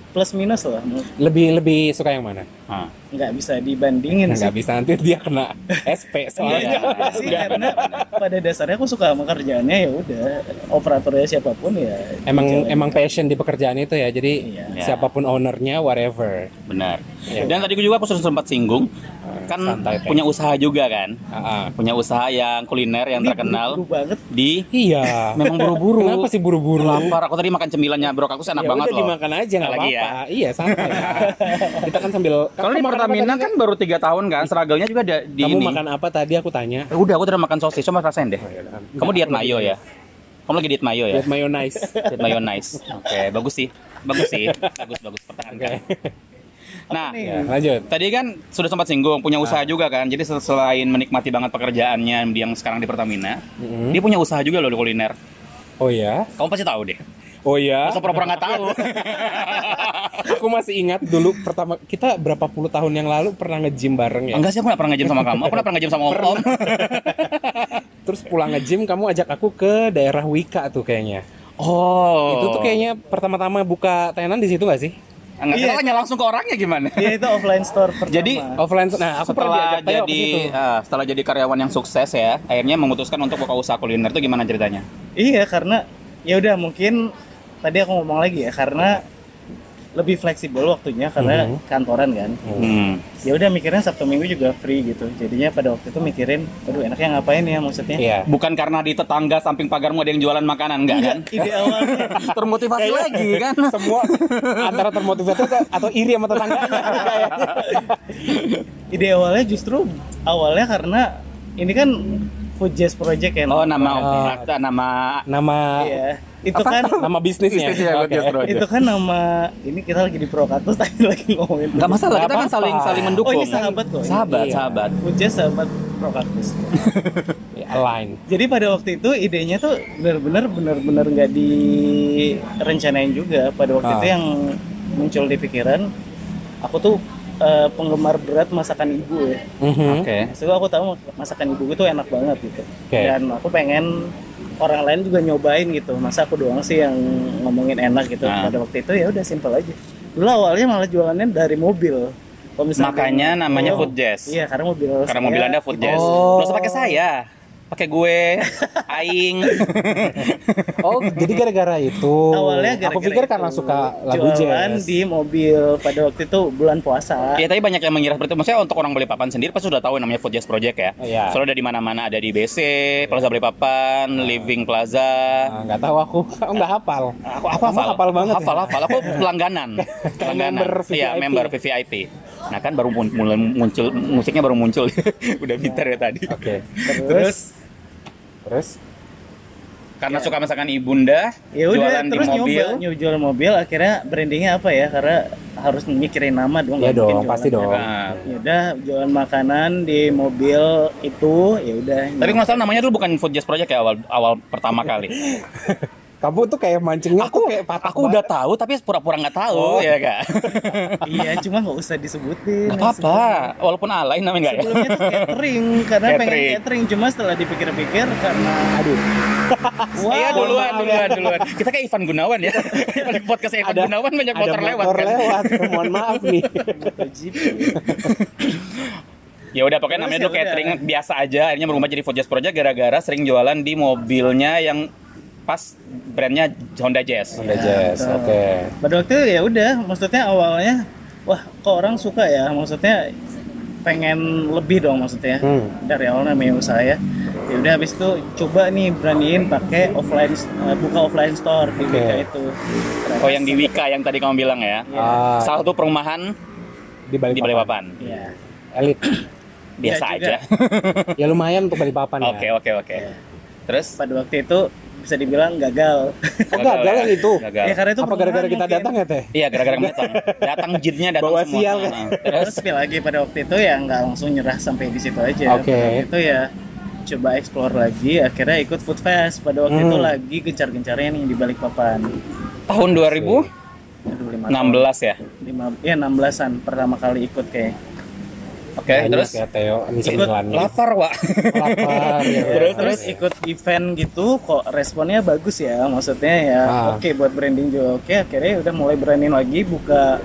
Speaker 3: plus minus lah. Mu-
Speaker 1: Lebih lebih suka yang mana?
Speaker 2: Ah.
Speaker 3: Nggak bisa dibandingin sih.
Speaker 1: Nggak bisa nanti dia kena SP
Speaker 3: Iya,
Speaker 1: soalnya.
Speaker 3: nggak sih, karena pada dasarnya aku suka sama kerjaannya ya udah operatornya siapapun ya
Speaker 1: Emang
Speaker 3: dijalani.
Speaker 1: emang passion di pekerjaan itu ya. Jadi
Speaker 3: Iya.
Speaker 1: siapapun ownernya whatever.
Speaker 2: Benar.
Speaker 1: Iya.
Speaker 2: Dan tadi juga aku sudah sempat singgung, kan
Speaker 1: santai, Teh.
Speaker 2: punya usaha juga kan,
Speaker 1: Ah, ah.
Speaker 2: punya usaha yang kuliner yang
Speaker 3: Ini
Speaker 2: terkenal
Speaker 3: buru-buru banget
Speaker 2: di
Speaker 1: Iya.
Speaker 2: memang buru-buru.
Speaker 1: Kenapa sih buru-buru?
Speaker 2: Lapar aku tadi makan cemilannya bro, aku sih enak
Speaker 1: ya
Speaker 2: banget
Speaker 1: udah
Speaker 2: loh.
Speaker 1: dimakan aja nggak
Speaker 2: Lagi
Speaker 1: apa-apa. Iya santai. Kita kan sambil.
Speaker 2: Kalau di
Speaker 1: Kamu makan apa
Speaker 2: Pertamina
Speaker 1: tadi?
Speaker 2: kan baru tiga tahun kan, seragalnya juga ada di
Speaker 1: Kamu
Speaker 2: ini.
Speaker 1: makan Oh, apa tadi? Aku tanya.
Speaker 2: Eh, Udah, aku udah makan sosis, cuma rasain deh.
Speaker 1: iya.
Speaker 2: Kamu diet mayo ya? Kamu lagi diet mayo ya?
Speaker 1: Lihat mayonnaise.
Speaker 2: Diet mayo nice. Oke, bagus sih, bagus sih, bagus bagus pertahankan. Nah,
Speaker 3: nih.
Speaker 1: Ya, lanjut.
Speaker 2: Tadi kan sudah sempat
Speaker 1: Nah.
Speaker 2: singgung punya usaha juga kan. Jadi sel- selain menikmati banget pekerjaannya yang sekarang di Pertamina,
Speaker 1: Mm-mm.
Speaker 2: dia punya usaha juga loh di kuliner.
Speaker 1: Oh ya.
Speaker 2: Kamu pasti tahu deh.
Speaker 1: Oh ya.
Speaker 2: Masa pura-pura nggak tahu?
Speaker 1: Aku masih ingat dulu pertama kita berapa puluh tahun yang lalu pernah nge-gym bareng ya.
Speaker 2: Enggak sih aku nggak pernah ngejim sama kamu. Aku nggak pernah ngejim sama om. om.
Speaker 1: Terus pulang nge-gym kamu ajak aku ke daerah Wika tuh kayaknya.
Speaker 2: Oh.
Speaker 1: Itu tuh kayaknya pertama-tama buka tenan di situ gak sih?
Speaker 2: Enggak
Speaker 3: Iya.
Speaker 2: tanya langsung ke orangnya gimana?
Speaker 3: ya itu offline store pertama.
Speaker 2: Jadi,
Speaker 1: Offline. Nah, aku pernah
Speaker 2: setelah
Speaker 1: diajak Teo ke
Speaker 2: jadi
Speaker 1: situ.
Speaker 2: ah, setelah jadi karyawan yang sukses ya, akhirnya memutuskan untuk buka usaha kuliner itu gimana ceritanya?
Speaker 3: Iya karena ya udah mungkin tadi aku ngomong lagi ya karena lebih fleksibel waktunya karena
Speaker 1: Mhm.
Speaker 3: kantoran kan.
Speaker 2: Hmm.
Speaker 3: Ya udah mikirnya Sabtu Minggu juga free gitu. Jadinya pada waktu itu mikirin, aduh enaknya ngapain ya maksudnya.
Speaker 2: eh,
Speaker 1: Iya.
Speaker 2: Bukan karena di tetangga samping pagarmu ada yang jualan makanan, enggak kan?
Speaker 3: Ide awalnya
Speaker 2: Termotivasi lagi kan?
Speaker 1: Semua antara termotivasi atau iri sama tetangganya kayaknya.
Speaker 3: ide awalnya justru awalnya karena ini kan Food Jazz Project ya.
Speaker 2: Oh, nama
Speaker 1: Oh.
Speaker 2: Raksa, nama
Speaker 1: Nama
Speaker 3: Iya. Itu kan
Speaker 1: nama bisnisnya.
Speaker 2: Bisnisnya,
Speaker 1: Oke.
Speaker 2: Good News Project.
Speaker 3: itu kan nama ini kita lagi di Prokatus tadi lagi ngomongin.
Speaker 2: Enggak masalah,
Speaker 1: Nggak
Speaker 2: kita kan
Speaker 1: apa-apa.
Speaker 2: saling saling
Speaker 3: Oh
Speaker 2: mendukung.
Speaker 3: ini sahabat kok. ini.
Speaker 2: Sahabat,
Speaker 1: Iya.
Speaker 2: sahabat.
Speaker 3: Food Jazz sahabat Prokatus.
Speaker 1: Ya, Align.
Speaker 3: Jadi pada waktu itu idenya tuh benar-benar benar-benar nggak direncanain juga. Pada waktu
Speaker 1: Ah.
Speaker 3: itu yang muncul di pikiran aku tuh eh, penggemar berat masakan ibu ya.
Speaker 1: Mhm.
Speaker 2: Oke.
Speaker 3: Maksudnya aku tahu masakan ibu itu enak banget gitu.
Speaker 1: Oke.
Speaker 3: Dan aku pengen orang lain juga nyobain gitu. Masa aku doang sih yang ngomongin enak gitu.
Speaker 2: Ah.
Speaker 3: Pada waktu itu ya udah simpel aja. Dulu awalnya malah jualannya dari mobil. Kalau misalnya-
Speaker 2: Makanya namanya
Speaker 3: Oh.
Speaker 2: Food Jazz.
Speaker 3: Iya, karena mobil.
Speaker 2: Karena
Speaker 3: saya
Speaker 2: mobil Anda Food
Speaker 3: itu-
Speaker 2: Jazz.
Speaker 1: Oh.
Speaker 2: Nggak usah pakai saya. Pakai gue, aing.
Speaker 1: Oh, jadi gara-gara itu.
Speaker 3: awalnya gara-gara
Speaker 1: aku pikir karena
Speaker 3: itu.
Speaker 1: suka lagu
Speaker 3: jualan
Speaker 1: jazz.
Speaker 3: di mobil pada waktu itu bulan puasa
Speaker 2: Ya tapi banyak yang mengira seperti itu. Maksudnya untuk orang Balikpapan sendiri pasti sudah tahu yang namanya Food Jazz Project ya.
Speaker 1: Iya.
Speaker 2: Soalnya ada di mana-mana, ada di BC, Plaza Balikpapan, Living Plaza.
Speaker 1: Ah, Nggak tahu aku, aku nggak hafal.
Speaker 2: Aku aku
Speaker 1: Kamu
Speaker 2: hafal.
Speaker 1: hafal banget ya?
Speaker 2: Hafal hafal. Aku pelangganan. pelangganan.
Speaker 1: member
Speaker 2: Iya,
Speaker 1: VVIP.
Speaker 2: member VVIP. Nah kan baru mun- mulai muncul musiknya baru muncul. Udah pintar ya tadi.
Speaker 1: Oke.
Speaker 3: terus
Speaker 1: Terus?
Speaker 2: Karena suka masakan ibunda,
Speaker 3: ya udah
Speaker 2: jualan
Speaker 3: terus
Speaker 2: di mobil.
Speaker 3: nyoba nyoba jualan mobil akhirnya brandingnya apa ya karena harus mikirin nama dong
Speaker 1: Ya
Speaker 3: nggak mungkin
Speaker 1: dong,
Speaker 3: jualan.
Speaker 1: pasti dong.
Speaker 2: Nah,
Speaker 3: ya udah jualan makanan di mobil itu ya udah
Speaker 2: Tapi kalau nggak salah namanya dulu bukan Food Jazz Project ya awal awal pertama kali.
Speaker 1: Kamu tuh kayak mancingnya aku kayak patah.
Speaker 2: Aku udah tahu tapi pura-pura nggak tahu ya kak.
Speaker 3: iya cuma nggak usah
Speaker 2: Gak
Speaker 3: disebutin
Speaker 2: apa-apa, walaupun alay namanya nggak ya.
Speaker 3: sebelumnya tuh catering karena pengen
Speaker 2: Catering.
Speaker 3: catering cuma setelah dipikir-pikir karena
Speaker 1: banget. aduh.
Speaker 3: wow,
Speaker 2: Iya duluan,
Speaker 3: maaf ya.
Speaker 2: duluan, duluan. Kita kayak Ivan Gunawan ya. Di podcast Ivan
Speaker 1: Ada-
Speaker 2: Gunawan banyak
Speaker 1: Ada
Speaker 2: motor, lewat kan.
Speaker 1: lewat. Mohon maaf nih.
Speaker 3: MotoGP.
Speaker 2: Ya udah pokoknya
Speaker 3: Terus
Speaker 2: namanya
Speaker 3: ya
Speaker 2: dulu
Speaker 3: udah.
Speaker 2: catering biasa aja, akhirnya berubah jadi Food Jazz Project gara-gara sering jualan di mobilnya yang pas brandnya Honda Jazz. Iya.
Speaker 1: Udah jazz, oke.
Speaker 3: Pada waktu itu ya udah, maksudnya ya awalnya wah kok orang suka ya maksudnya pengen lebih dong maksudnya
Speaker 1: Hmm.
Speaker 3: dari awal namanya usaha ya ya udah habis itu coba nih beraniin pakai offline eh, buka offline store di
Speaker 1: Oke.
Speaker 3: Wika itu Ternyata
Speaker 2: Oh yang di Wika yang tadi kamu bilang ya.
Speaker 3: Iya.
Speaker 1: Ah,
Speaker 2: Salah satu perumahan
Speaker 1: di Balikpapan.
Speaker 2: di Balikpapan.
Speaker 3: Iya.
Speaker 1: Elit.
Speaker 2: Biasa
Speaker 3: Iya juga.
Speaker 2: aja.
Speaker 1: ya lumayan untuk Balikpapan ya.
Speaker 2: Oke oke oke. Terus
Speaker 3: pada waktu itu bisa dibilang gagal
Speaker 1: Oh, gagal yang itu. Iya kan?
Speaker 2: Gagal.
Speaker 3: ya karena itu
Speaker 1: Apa gara-gara
Speaker 3: perumahan
Speaker 1: kita
Speaker 3: mungkin.
Speaker 1: datang ya teh?
Speaker 2: Iya gara-gara kamu datang. Datang jidnya datang
Speaker 1: Bawa
Speaker 2: semua. Nah,
Speaker 1: sial, kan?
Speaker 2: Heeh.
Speaker 3: terus tapi lagi pada waktu itu ya nggak langsung nyerah sampai di situ aja
Speaker 1: Oke.
Speaker 3: Pada waktu itu ya coba explore lagi akhirnya ikut food fest pada waktu
Speaker 1: Hmm.
Speaker 3: itu lagi gencar-gencarnya nih di balik papan
Speaker 2: Tahun 2016
Speaker 3: Aduh, lima
Speaker 2: ya.
Speaker 3: tahun. lima ya 16-an pertama kali ikut kayak
Speaker 2: Oke
Speaker 1: Banyak
Speaker 2: terus.
Speaker 1: ya Teo, ini
Speaker 3: Ikut
Speaker 1: sembilan.
Speaker 2: Lapar Wak.
Speaker 1: Lapar. ya.
Speaker 3: Iya, terus terus ikut event gitu kok responnya bagus ya maksudnya ya
Speaker 1: Ah.
Speaker 3: oke buat branding juga oke akhirnya udah mulai beraniin lagi buka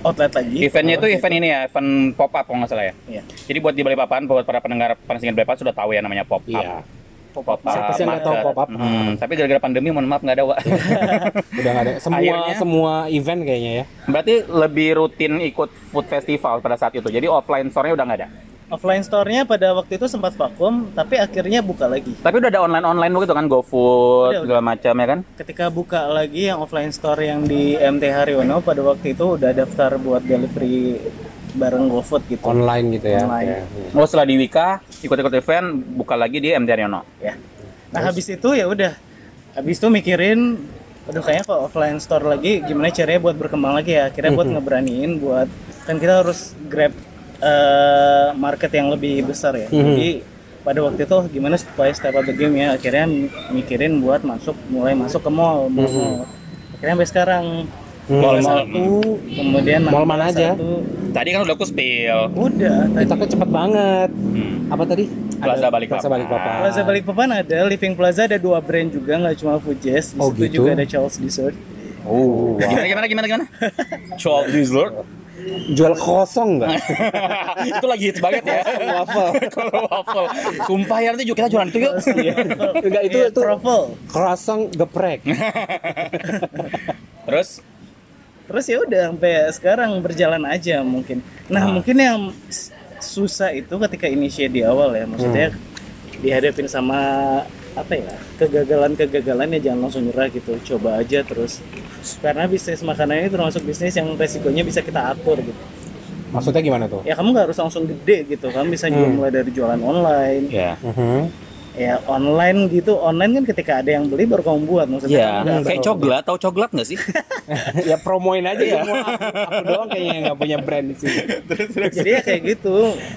Speaker 3: outlet lagi
Speaker 2: Eventnya itu event ini ya, event pop up kalau nggak salah ya.
Speaker 3: Iya.
Speaker 2: Jadi buat di Balikpapan, buat para pendengar penasingkan Balikpapan sudah tahu ya namanya pop up.
Speaker 1: Iya.
Speaker 2: Pop up.
Speaker 1: Siapa sih yang nggak tahu Iya.
Speaker 2: market.
Speaker 1: pop up?
Speaker 2: Hmm, tapi gara-gara pandemi mohon maaf nggak ada Wak.
Speaker 1: Udah nggak ada. Semua
Speaker 2: Akhirnya-
Speaker 1: semua event kayaknya ya.
Speaker 2: Berarti lebih rutin ikut food festival pada saat itu. Jadi offline store-nya udah nggak ada.
Speaker 3: offline store-nya pada waktu itu sempat vakum tapi akhirnya buka lagi
Speaker 2: Tapi udah ada online-online gitu kan,
Speaker 1: Iya,
Speaker 2: GoFood,
Speaker 3: Udah, udah.
Speaker 2: segala macam ya kan?
Speaker 3: ketika buka lagi yang offline store yang di MT Haryono pada waktu itu udah daftar buat delivery bareng GoFood gitu
Speaker 1: Online gitu ya.
Speaker 3: Online.
Speaker 1: Oke.
Speaker 2: Oh setelah di Wika, ikut-ikut event, buka lagi di MT Haryono.
Speaker 3: ya nah habis itu ya udah habis itu mikirin aduh kayaknya kok offline store lagi gimana caranya buat berkembang lagi ya akhirnya
Speaker 1: Mhm.
Speaker 3: buat ngeberaniin buat kan kita harus grab eh, market yang lebih besar ya
Speaker 1: Mhm.
Speaker 3: jadi pada waktu itu "Oh, gimana supaya step up the game ya akhirnya mikirin buat masuk mulai masuk ke mall
Speaker 1: Mhm.
Speaker 3: mall, mall. akhirnya sampai sekarang
Speaker 1: Hmm.
Speaker 3: mall satu kemudian
Speaker 1: Mall
Speaker 3: Mangga
Speaker 1: mana aja?
Speaker 3: satu.
Speaker 2: Tadi kan udah aku spill.
Speaker 3: udah
Speaker 1: Kita
Speaker 3: tadi
Speaker 1: kok cepet banget.
Speaker 2: Hmm.
Speaker 1: Apa tadi?
Speaker 2: Plaza
Speaker 1: Ada-
Speaker 2: Balikpapan.
Speaker 1: Plaza Balikpapan.
Speaker 3: Plaza Balikpapan ada, Living Plaza ada dua brand juga, nggak cuma Fujes, di
Speaker 1: Oh,
Speaker 3: situ
Speaker 1: gitu?
Speaker 3: juga ada Charles Dessert.
Speaker 2: Oh, gimana gimana gimana gimana? Chow dessert.
Speaker 1: Jual kosong nggak?
Speaker 2: itu lagi hits banget ya.
Speaker 1: Waffle.
Speaker 2: Kalau waffle. Sumpah ya nanti juga kita jualan itu yuk.
Speaker 1: Iya. Enggak itu
Speaker 3: Iya,
Speaker 1: itu
Speaker 3: Truffle.
Speaker 1: kosong geprek.
Speaker 2: Terus
Speaker 3: Terus ya udah sampai sekarang berjalan aja mungkin. Nah, mungkin yang s- susah itu ketika initiate di awal ya,
Speaker 1: Hmm.
Speaker 3: maksudnya dihadapin sama apa ya kegagalan-kegagalan ya jangan langsung nyerah gitu coba aja terus karena bisnis makanan ini termasuk bisnis yang resikonya bisa kita atur gitu
Speaker 1: Maksudnya gimana tuh?
Speaker 3: ya kamu nggak harus langsung gede gitu kamu
Speaker 1: Hmm.
Speaker 3: bisa juga mulai dari jualan online
Speaker 2: ya.
Speaker 1: Mhm.
Speaker 3: ya online gitu online kan ketika ada yang beli baru kamu buat maksudnya
Speaker 2: Ya,
Speaker 3: kamu nggak-
Speaker 2: kayak coklat, tahu coklat nggak sih?
Speaker 1: ya promoin aja ya. Aku doang kayaknya yang nggak punya brand di sini.
Speaker 3: jadi ya kayak gitu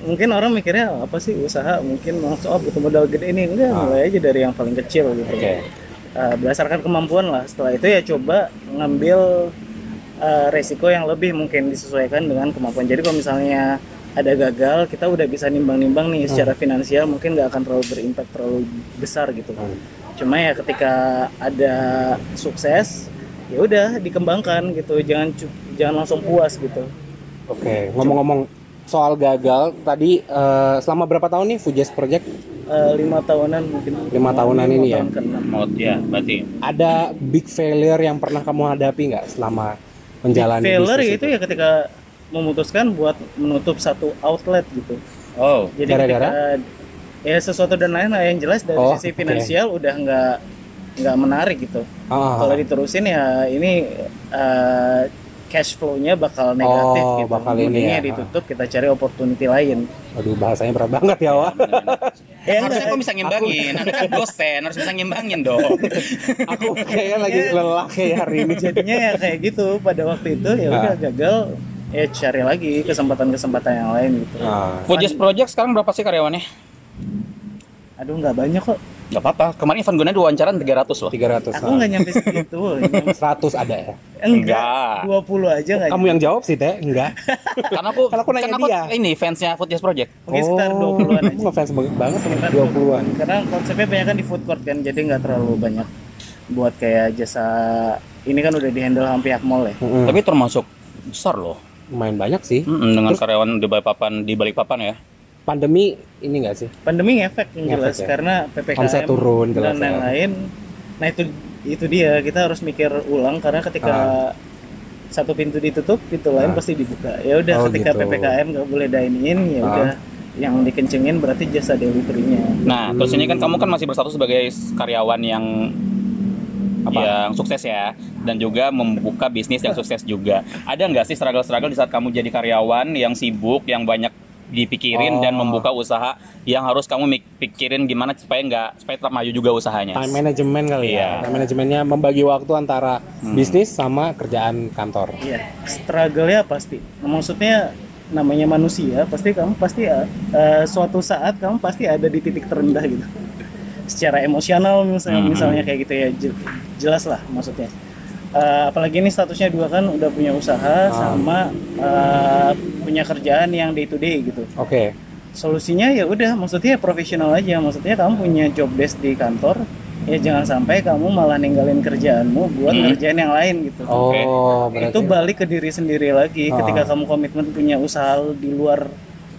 Speaker 3: mungkin orang mikirnya apa sih usaha mungkin langsung oh butuh modal gede ini enggak mulai aja dari yang paling kecil gitu Eh, berdasarkan kemampuan lah setelah itu ya coba ngambil eh, resiko yang lebih mungkin disesuaikan dengan kemampuan jadi kalau misalnya ada gagal kita udah bisa nimbang-nimbang nih secara finansial mungkin nggak akan terlalu berimpact terlalu besar gitu cuma ya ketika ada sukses ya udah dikembangkan gitu jangan cu- jangan langsung puas gitu
Speaker 1: Oke, ngomong-ngomong soal gagal tadi eh, selama berapa tahun nih Fujes Project
Speaker 3: Eh, lima tahunan mungkin
Speaker 1: Lima tahunan ini ya?
Speaker 3: tahun keenam.
Speaker 2: Mau ya, berarti.
Speaker 1: ada big failure yang pernah kamu hadapi nggak selama menjalani
Speaker 3: failure
Speaker 1: bisnis
Speaker 3: itu ya ketika memutuskan buat menutup satu outlet gitu
Speaker 2: Oh,
Speaker 3: jadi
Speaker 1: Gara-gara?
Speaker 3: ketika ya sesuatu dan lain lah yang jelas dari
Speaker 1: Oh,
Speaker 3: sisi
Speaker 1: oke.
Speaker 3: finansial udah nggak nggak menarik gitu
Speaker 1: Ah, ah, ah.
Speaker 3: kalau diterusin ya ini eh, cash flow-nya bakal negatif
Speaker 1: Oh,
Speaker 3: gitu
Speaker 1: bakal ini
Speaker 3: Mendingnya
Speaker 1: ya.
Speaker 3: ditutup kita cari opportunity lain
Speaker 1: Aduh bahasanya berat banget ya Wak.
Speaker 2: harusnya
Speaker 3: ya enggak.
Speaker 2: kamu bisa ngimbangin. Anda kan dosen, harus bisa ngimbangin dong.
Speaker 1: Aku kayaknya lagi
Speaker 3: Iya.
Speaker 1: lelah kayak hari ini.
Speaker 3: jadinya ya kayak gitu pada waktu itu ya
Speaker 1: Ah.
Speaker 3: udah gagal ya cari lagi kesempatan-kesempatan yang lain gitu
Speaker 1: Ah,
Speaker 2: Fuji's Project sekarang berapa sih karyawannya?
Speaker 3: aduh nggak banyak kok
Speaker 2: Gak apa-apa. Kemarin Ivan Gunan diwawancara 300 loh.
Speaker 1: 300
Speaker 3: Aku nggak nyampe segitu. ya.
Speaker 1: ah. 100 ada ya.
Speaker 2: Enggak.
Speaker 3: Enggak. 20 aja nggak
Speaker 1: Kamu yang jawab sih Teh, enggak.
Speaker 2: Karena aku,
Speaker 1: Kalau aku nanya
Speaker 2: karena aku
Speaker 1: dia.
Speaker 2: ini fansnya Fuji's Project.
Speaker 3: Mungkin sekitar
Speaker 1: Oh.
Speaker 3: 20-an aja.
Speaker 1: Ngefans banget banget sama
Speaker 3: Sekitar
Speaker 1: 20-an.
Speaker 3: Karena konsepnya banyak kan di food court kan, jadi nggak terlalu banyak buat kayak jasa ini kan udah dihandle sama pihak mall ya.
Speaker 1: Mm-mm.
Speaker 2: Tapi termasuk besar loh.
Speaker 1: Lumayan banyak sih.
Speaker 2: Mm-mm, dengan karyawan di Balikpapan di Balikpapan ya.
Speaker 1: Pandemi ini enggak sih?
Speaker 3: Pandemi ngefek yang
Speaker 1: Ngefek
Speaker 3: jelas
Speaker 1: ya.
Speaker 3: karena
Speaker 1: Omset
Speaker 3: PPKM
Speaker 1: turun, jelas ya.
Speaker 3: dan
Speaker 1: Ah.
Speaker 3: lain-lain. Nah itu itu dia kita harus mikir ulang karena ketika satu pintu ditutup pintu lain pasti dibuka ya udah
Speaker 5: Oh,
Speaker 3: ketika
Speaker 5: gitu.
Speaker 3: ppkm nggak boleh dine in ya
Speaker 5: Ah.
Speaker 3: udah yang dikencengin berarti jasa deliverynya
Speaker 2: Nah, terus ini kan kamu kan masih berstatus sebagai karyawan yang
Speaker 3: Apa?
Speaker 2: yang sukses ya dan juga membuka bisnis yang sukses juga. Ada nggak sih struggle-struggle di saat kamu jadi karyawan yang sibuk, yang banyak dipikirin dan
Speaker 3: Oh.
Speaker 2: membuka usaha yang harus kamu mik- pikirin gimana supaya nggak supaya tetap maju juga usahanya.
Speaker 1: Time management kali
Speaker 2: Iya.
Speaker 1: ya. Time managementnya membagi waktu antara bisnis sama kerjaan kantor.
Speaker 3: Iya, struggle-nya pasti. Maksudnya namanya manusia, pasti kamu pasti uh, uh, suatu saat kamu pasti ada di titik terendah gitu. Secara emosional misalnya,
Speaker 2: Mhm.
Speaker 3: misalnya kayak gitu ya, je- jelas lah maksudnya. Uh, apalagi ini statusnya dua kan udah punya usaha sama uh, punya kerjaan yang day to day gitu.
Speaker 1: Oke.
Speaker 3: Solusinya ya udah, maksudnya profesional aja. Maksudnya kamu punya job desk di kantor, ya jangan sampai kamu malah ninggalin kerjaanmu buat
Speaker 2: Mhm.
Speaker 3: ngerjain yang lain gitu
Speaker 1: Oh, berarti
Speaker 3: itu balik ke diri sendiri lagi
Speaker 1: Ah.
Speaker 3: ketika kamu komitmen punya usaha di luar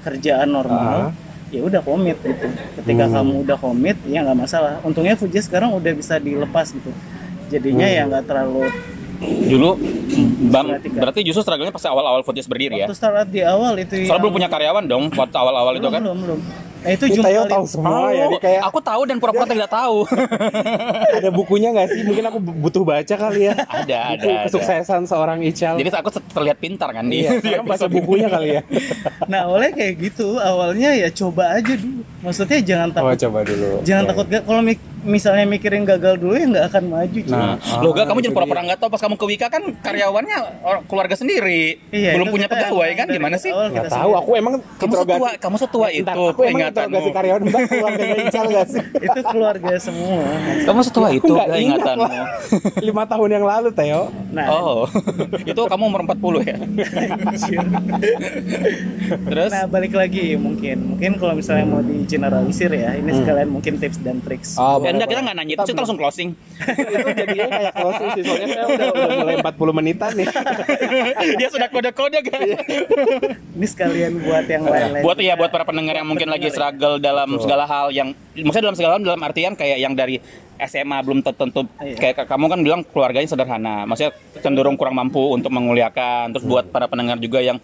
Speaker 3: kerjaan
Speaker 1: Ah.
Speaker 3: normal ya udah komit gitu ketika
Speaker 1: Hmm.
Speaker 3: kamu udah komit ya nggak masalah untungnya Fuji sekarang udah bisa dilepas gitu jadinya
Speaker 1: Hmm.
Speaker 3: ya nggak terlalu
Speaker 2: Dulu Bam,
Speaker 3: Perhatikan.
Speaker 2: berarti justru struggle-nya pas awal-awal Footies berdiri ya.
Speaker 3: waktu startup di awal itu
Speaker 2: Soalnya belum punya karyawan dong waktu awal-awal itu
Speaker 3: belum,
Speaker 2: kan.
Speaker 3: belum belum nah itu
Speaker 1: Ini
Speaker 3: jumpa
Speaker 1: Tayo
Speaker 3: kali-
Speaker 1: tahu semua ya, ini kayak
Speaker 2: Aku tahu dan pura-pura tidak tahu.
Speaker 1: ada bukunya nggak sih? Mungkin aku butuh baca kali ya.
Speaker 2: ada, ada.
Speaker 1: Buku
Speaker 2: ada.
Speaker 1: kesuksesan seorang Ical.
Speaker 2: Jadi aku terlihat pintar kan di,
Speaker 1: iya, sekarang baca bukunya kali ya.
Speaker 3: nah oleh kayak gitu awalnya ya coba aja dulu maksudnya jangan
Speaker 1: Oh,
Speaker 3: takut
Speaker 1: coba dulu.
Speaker 3: jangan
Speaker 1: Iya,
Speaker 3: takut ga- kalau mi- misalnya mikirin gagal dulu ya nggak akan maju cuy.
Speaker 1: Nah,
Speaker 2: Loh gak, kamu
Speaker 1: itu
Speaker 2: jadi pura-pura nggak tahu pas kamu ke Wika kan karyawannya or- keluarga sendiri, belum
Speaker 3: Iya, itu
Speaker 2: punya
Speaker 3: kita
Speaker 2: pegawai
Speaker 3: emang
Speaker 2: kan?
Speaker 3: dari
Speaker 2: Gimana sih?
Speaker 3: awal
Speaker 1: Nggak
Speaker 3: kita
Speaker 1: tahu,
Speaker 3: sendiri.
Speaker 1: aku emang
Speaker 2: Kamu setua, kamu setua itu
Speaker 1: Bentar, aku emang interogasi
Speaker 2: pengingatanmu.
Speaker 1: karyawan mbak keluarganya Ical nggak sih?
Speaker 3: itu keluarga semua
Speaker 2: Kamu setua
Speaker 1: Aku
Speaker 2: itu
Speaker 1: nggak ingat
Speaker 2: pengingatanmu.
Speaker 1: lah. Lima tahun yang lalu Teo.
Speaker 3: Nah,
Speaker 2: Oh, itu kamu umur 40 ya? Terus?
Speaker 3: nah balik lagi mungkin, mungkin kalau misalnya mau di generalisir ya,
Speaker 2: Hmm.
Speaker 3: ini sekalian mungkin tips dan triks.
Speaker 1: Oh,
Speaker 2: Ya, enggak, kita nggak nanya itu, kita langsung closing.
Speaker 1: itu jadinya kayak closing sih soalnya saya udah, udah mulai 40 menitan nih.
Speaker 2: Dia sudah kode-kode kan?
Speaker 1: Iya.
Speaker 2: guys.
Speaker 3: Ini sekalian buat yang lain-lain.
Speaker 2: buat ya buat para pendengar yang mungkin lagi struggle dalam segala hal yang maksudnya dalam segala hal dalam artian kayak yang dari SMA belum tertentu
Speaker 3: Iya.
Speaker 2: kayak kamu kan bilang keluarganya sederhana maksudnya cenderung kurang mampu untuk menguliakan terus buat para pendengar juga yang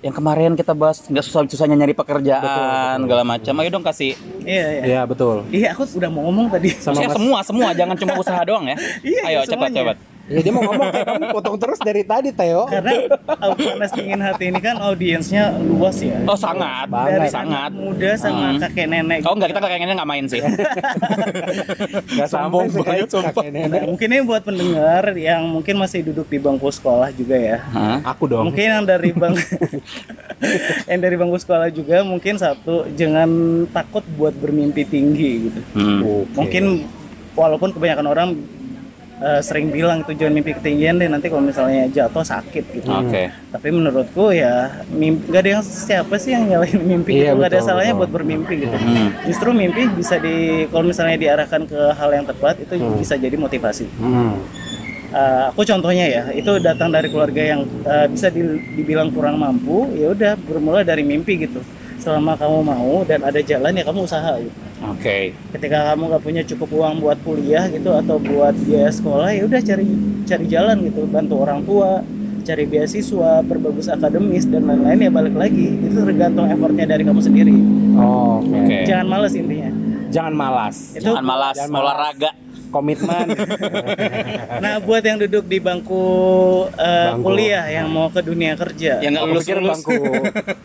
Speaker 2: yang kemarin kita bahas nggak susah susahnya nyari pekerjaan segala macam ayo dong kasih
Speaker 3: Iya, iya.
Speaker 1: Iya, betul.
Speaker 3: Iya, aku udah mau ngomong tadi.
Speaker 1: Sama
Speaker 2: maksudnya
Speaker 1: Mas-
Speaker 2: semua semua jangan cuma usaha doang ya
Speaker 3: Iya,
Speaker 2: ayo
Speaker 3: iya,
Speaker 2: cepat
Speaker 3: semuanya.
Speaker 2: cepat
Speaker 1: Ya, dia mau ngomong kayak kamu potong terus dari tadi Teo.
Speaker 3: Karena Aku panas dingin hati ini kan audiensnya luas ya.
Speaker 2: oh sangat
Speaker 1: Banget.
Speaker 3: Dari
Speaker 2: sangat
Speaker 3: anak muda sama
Speaker 2: Hmm.
Speaker 3: kakek nenek.
Speaker 2: oh enggak kita kayaknya nggak main sih
Speaker 1: Iya. Gak sampai
Speaker 2: Sombong banget,
Speaker 1: sekali
Speaker 2: sumpah.
Speaker 1: kakek
Speaker 3: Nah,
Speaker 1: nenek.
Speaker 3: mungkin ini buat pendengar yang mungkin masih duduk di bangku sekolah juga ya.
Speaker 2: Hah?
Speaker 1: Aku dong.
Speaker 3: Mungkin yang dari bang yang dari bangku sekolah juga mungkin satu jangan takut buat bermimpi tinggi gitu.
Speaker 2: Hmm.
Speaker 1: Oke.
Speaker 3: Mungkin walaupun kebanyakan orang eh, sering bilang itu jangan mimpi ketinggian deh nanti kalau misalnya jatuh sakit gitu.
Speaker 2: oke
Speaker 3: Tapi menurutku ya mimpi, gak ada yang siapa sih yang nyalain mimpi
Speaker 1: Iya,
Speaker 3: gitu. Gak ada
Speaker 1: betul,
Speaker 3: salahnya
Speaker 1: betul.
Speaker 3: buat bermimpi gitu.
Speaker 2: Hmm.
Speaker 3: Justru mimpi bisa di kalau misalnya diarahkan ke hal yang tepat itu bisa jadi motivasi.
Speaker 1: Hmm.
Speaker 3: Eh, aku contohnya ya itu datang dari keluarga yang eh, bisa di- dibilang kurang mampu ya udah bermula dari mimpi gitu selama kamu mau dan ada jalan ya kamu usaha gitu
Speaker 2: oke
Speaker 3: ketika kamu nggak punya cukup uang buat kuliah gitu atau buat biaya sekolah ya udah cari cari jalan gitu bantu orang tua cari beasiswa perbagus akademis dan lain-lain ya balik lagi itu tergantung effortnya dari kamu sendiri
Speaker 1: Oh, oke.
Speaker 2: Oke.
Speaker 3: jangan males intinya
Speaker 1: Jangan malas.
Speaker 3: itu
Speaker 2: jangan malas
Speaker 1: Jangan malas.
Speaker 2: olahraga
Speaker 1: Komitmen.
Speaker 3: nah buat yang duduk di bangku, eh,
Speaker 1: Bangku.
Speaker 3: kuliah yang mau ke dunia kerja
Speaker 2: yang nggak
Speaker 1: Aku
Speaker 2: lulus
Speaker 1: pikir
Speaker 2: lulus
Speaker 1: bangku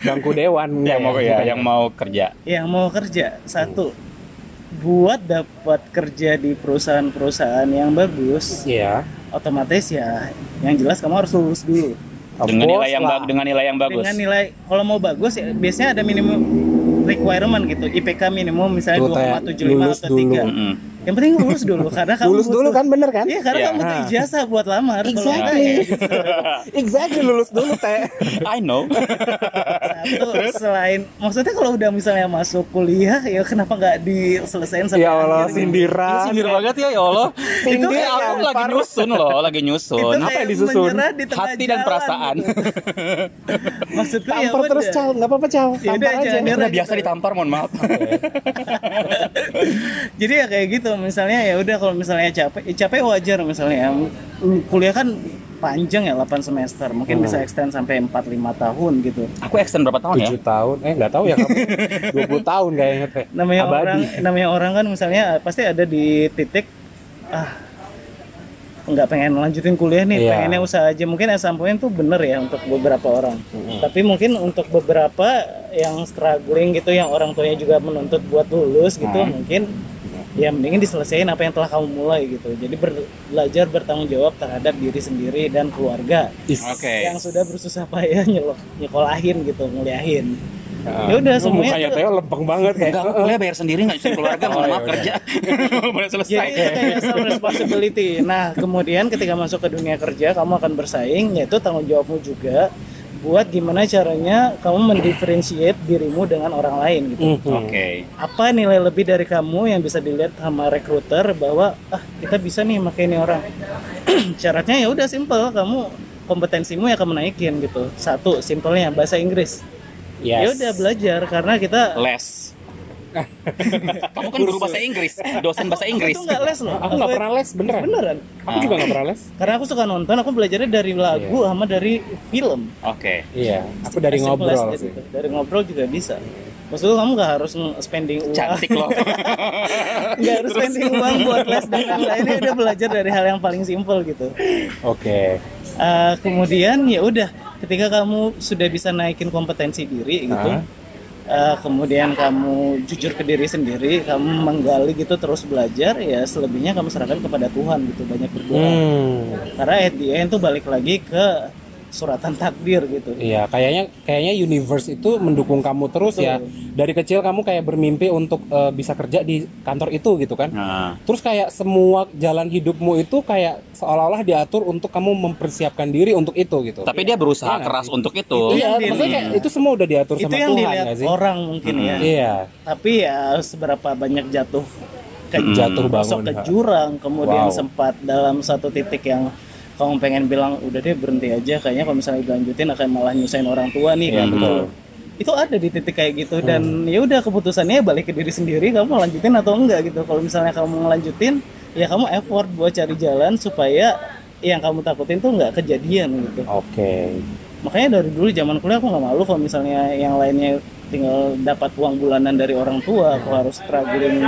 Speaker 1: bangku dewan gitu. enggak
Speaker 2: yang mau ya, yang mau kerja
Speaker 3: yang mau kerja satu buat dapat kerja di perusahaan-perusahaan yang bagus
Speaker 1: Iya.
Speaker 3: otomatis ya yang jelas kamu harus lulus dulu
Speaker 1: Of
Speaker 2: dengan nilai
Speaker 1: course
Speaker 2: yang
Speaker 1: lah.
Speaker 2: bagus dengan nilai yang bagus
Speaker 3: dengan nilai kalau mau bagus ya biasanya ada minimum requirement gitu IPK minimum misalnya
Speaker 1: Tuh, kayak
Speaker 3: 2,75
Speaker 1: lulus
Speaker 3: atau
Speaker 1: dulu.
Speaker 3: 3
Speaker 2: Mm-mm.
Speaker 3: yang penting lulus dulu karena kamu
Speaker 1: Lulus dulu
Speaker 3: butuh-
Speaker 1: kan bener kan?
Speaker 3: iya karena
Speaker 2: Iya.
Speaker 3: kamu butuh
Speaker 1: Nah.
Speaker 3: ijazah buat lamar Kalau
Speaker 1: Exactly.
Speaker 3: enggak, ya
Speaker 1: Exactly lulus dulu teh.
Speaker 2: I know
Speaker 3: satu selain maksudnya kalau udah misalnya masuk kuliah ya kenapa nggak diselesain sampai
Speaker 1: ya Allah
Speaker 3: akhir gitu?
Speaker 2: Lu
Speaker 1: sindiran.
Speaker 2: sindir banget ya ya Allah
Speaker 1: Sindir
Speaker 2: Ini aku
Speaker 1: lempar.
Speaker 2: lagi nyusun loh lagi
Speaker 3: Itu
Speaker 2: nyusun
Speaker 1: Apa
Speaker 3: kayak
Speaker 1: yang disusun?
Speaker 3: menyerah di tengah
Speaker 2: hati dan
Speaker 3: jalan
Speaker 2: perasaan
Speaker 3: gitu. Maksudku ya
Speaker 1: Tampar terus
Speaker 3: udah.
Speaker 1: cal, nggak apa-apa cal.
Speaker 3: Ya udah,
Speaker 1: Tampar aja.
Speaker 3: jangan nyerah.
Speaker 2: Udah biasa ditampar mohon maaf
Speaker 3: Jadi ya kayak gitu misalnya ya udah kalau misalnya capek, ya capek wajar misalnya. Kuliah kan panjang ya 8 semester mungkin
Speaker 1: Hmm.
Speaker 3: bisa extend sampai 4-5 tahun gitu
Speaker 2: Aku extend berapa tahun ya?
Speaker 1: 7 tahun. Eh nggak tahu ya kamu. 20 tahun kayaknya teh.
Speaker 3: namanya
Speaker 1: Abadi.
Speaker 3: orang namanya orang kan misalnya ah, pasti ada di titik ah nggak pengen lanjutin kuliah
Speaker 1: Iya.
Speaker 3: nih pengennya usaha aja mungkin S1 tuh bener ya untuk beberapa orang tapi mungkin untuk beberapa yang struggling gitu yang orang tuanya juga menuntut buat lulus gitu mungkin ya mendingin diselesaikan apa yang telah kamu mulai gitu jadi ber- belajar bertanggung jawab terhadap diri sendiri dan keluarga
Speaker 1: Is.
Speaker 2: Oke.
Speaker 3: yang sudah bersusah payah nyelo- nyekolahin gitu nguliahin
Speaker 1: Nah,
Speaker 3: ya udah
Speaker 1: lu
Speaker 3: semuanya
Speaker 1: Mukanya
Speaker 3: tuh- Iya.
Speaker 1: Teo lempeng banget kayak.
Speaker 2: Enggak, aku kuliah bayar sendiri nggak justru keluarga mohon maaf kerja. Boleh
Speaker 1: Iya,
Speaker 2: selesai.
Speaker 3: Jadi itu kayak self responsibility. Nah, kemudian ketika masuk ke dunia kerja, kamu akan bersaing, yaitu tanggung jawabmu juga buat gimana caranya kamu mendiferensiate dirimu dengan orang lain gitu.
Speaker 1: Mhm.
Speaker 2: Oke.
Speaker 3: Apa nilai lebih dari kamu yang bisa dilihat sama rekruter bahwa ah kita bisa nih pakai ini orang. Syaratnya ya udah simple, kamu kompetensimu yang kamu naikin gitu. Satu, simpelnya bahasa Inggris.
Speaker 1: Yes.
Speaker 3: Ya udah belajar karena kita
Speaker 2: Les. Kamu kan guru bahasa Inggris, dosen bahasa Inggris.
Speaker 3: itu nggak les loh.
Speaker 1: Aku nggak pernah les beneran.
Speaker 3: beneran.
Speaker 1: Aku juga nggak pernah les.
Speaker 3: Karena aku suka nonton, aku belajarnya dari lagu sama dari film.
Speaker 2: Ah, Oke.
Speaker 1: Iya. Aku Iya. dari
Speaker 3: Simple
Speaker 1: ngobrol
Speaker 3: aja
Speaker 1: sih.
Speaker 3: gitu. Dari ngobrol juga bisa. Maksudnya kamu nggak harus nge- spending uang,
Speaker 2: Cantik loh.
Speaker 3: nggak harus spending uang buat les dan lain-lainnya udah belajar dari hal yang paling simple gitu.
Speaker 1: Oke.
Speaker 3: Eh, kemudian ya udah, ketika kamu sudah bisa naikin kompetensi diri gitu,
Speaker 1: Ah.
Speaker 3: eh, kemudian kamu jujur ke diri sendiri, kamu menggali gitu terus belajar, ya selebihnya kamu serahkan kepada Tuhan gitu banyak berdoa.
Speaker 1: Hmm.
Speaker 3: Karena at the end tuh balik lagi ke suratan takdir gitu.
Speaker 1: Iya, kayaknya kayaknya universe itu mendukung kamu terus ya. Dari kecil kamu kayak bermimpi untuk eh, bisa kerja di kantor itu gitu kan.
Speaker 2: Nah,
Speaker 1: Terus kayak semua jalan hidupmu itu kayak seolah-olah diatur untuk kamu mempersiapkan diri untuk itu gitu.
Speaker 2: tapi dia
Speaker 1: Iya,
Speaker 2: berusaha keras
Speaker 1: ngerti.
Speaker 2: untuk itu.
Speaker 1: iya, maksudnya kayak itu semua udah diatur
Speaker 3: itu
Speaker 1: sama
Speaker 3: yang
Speaker 1: Tuhan
Speaker 3: dilihat
Speaker 1: nggak sih?
Speaker 3: orang mungkin ya
Speaker 1: Iya,
Speaker 3: tapi ya seberapa banyak jatuh ke
Speaker 2: Hmm.
Speaker 1: jatuh bangun.
Speaker 3: masuk ke jurang kemudian
Speaker 1: Wow.
Speaker 3: sempat dalam satu titik yang kamu pengen bilang udah deh berhenti aja kayaknya kalau misalnya dilanjutin akan malah nyusahin orang tua nih
Speaker 1: Iya,
Speaker 3: kayak gitu itu ada di titik kayak gitu dan
Speaker 1: Hmm.
Speaker 3: ya udah keputusannya balik ke diri sendiri kamu mau lanjutin atau enggak gitu kalau misalnya kamu ngelanjutin ya kamu effort buat cari jalan supaya yang kamu takutin tuh nggak kejadian gitu
Speaker 1: Oke.
Speaker 3: makanya dari dulu zaman kuliah aku nggak malu kalau misalnya yang lainnya tinggal dapat uang bulanan dari orang tua aku harus struggling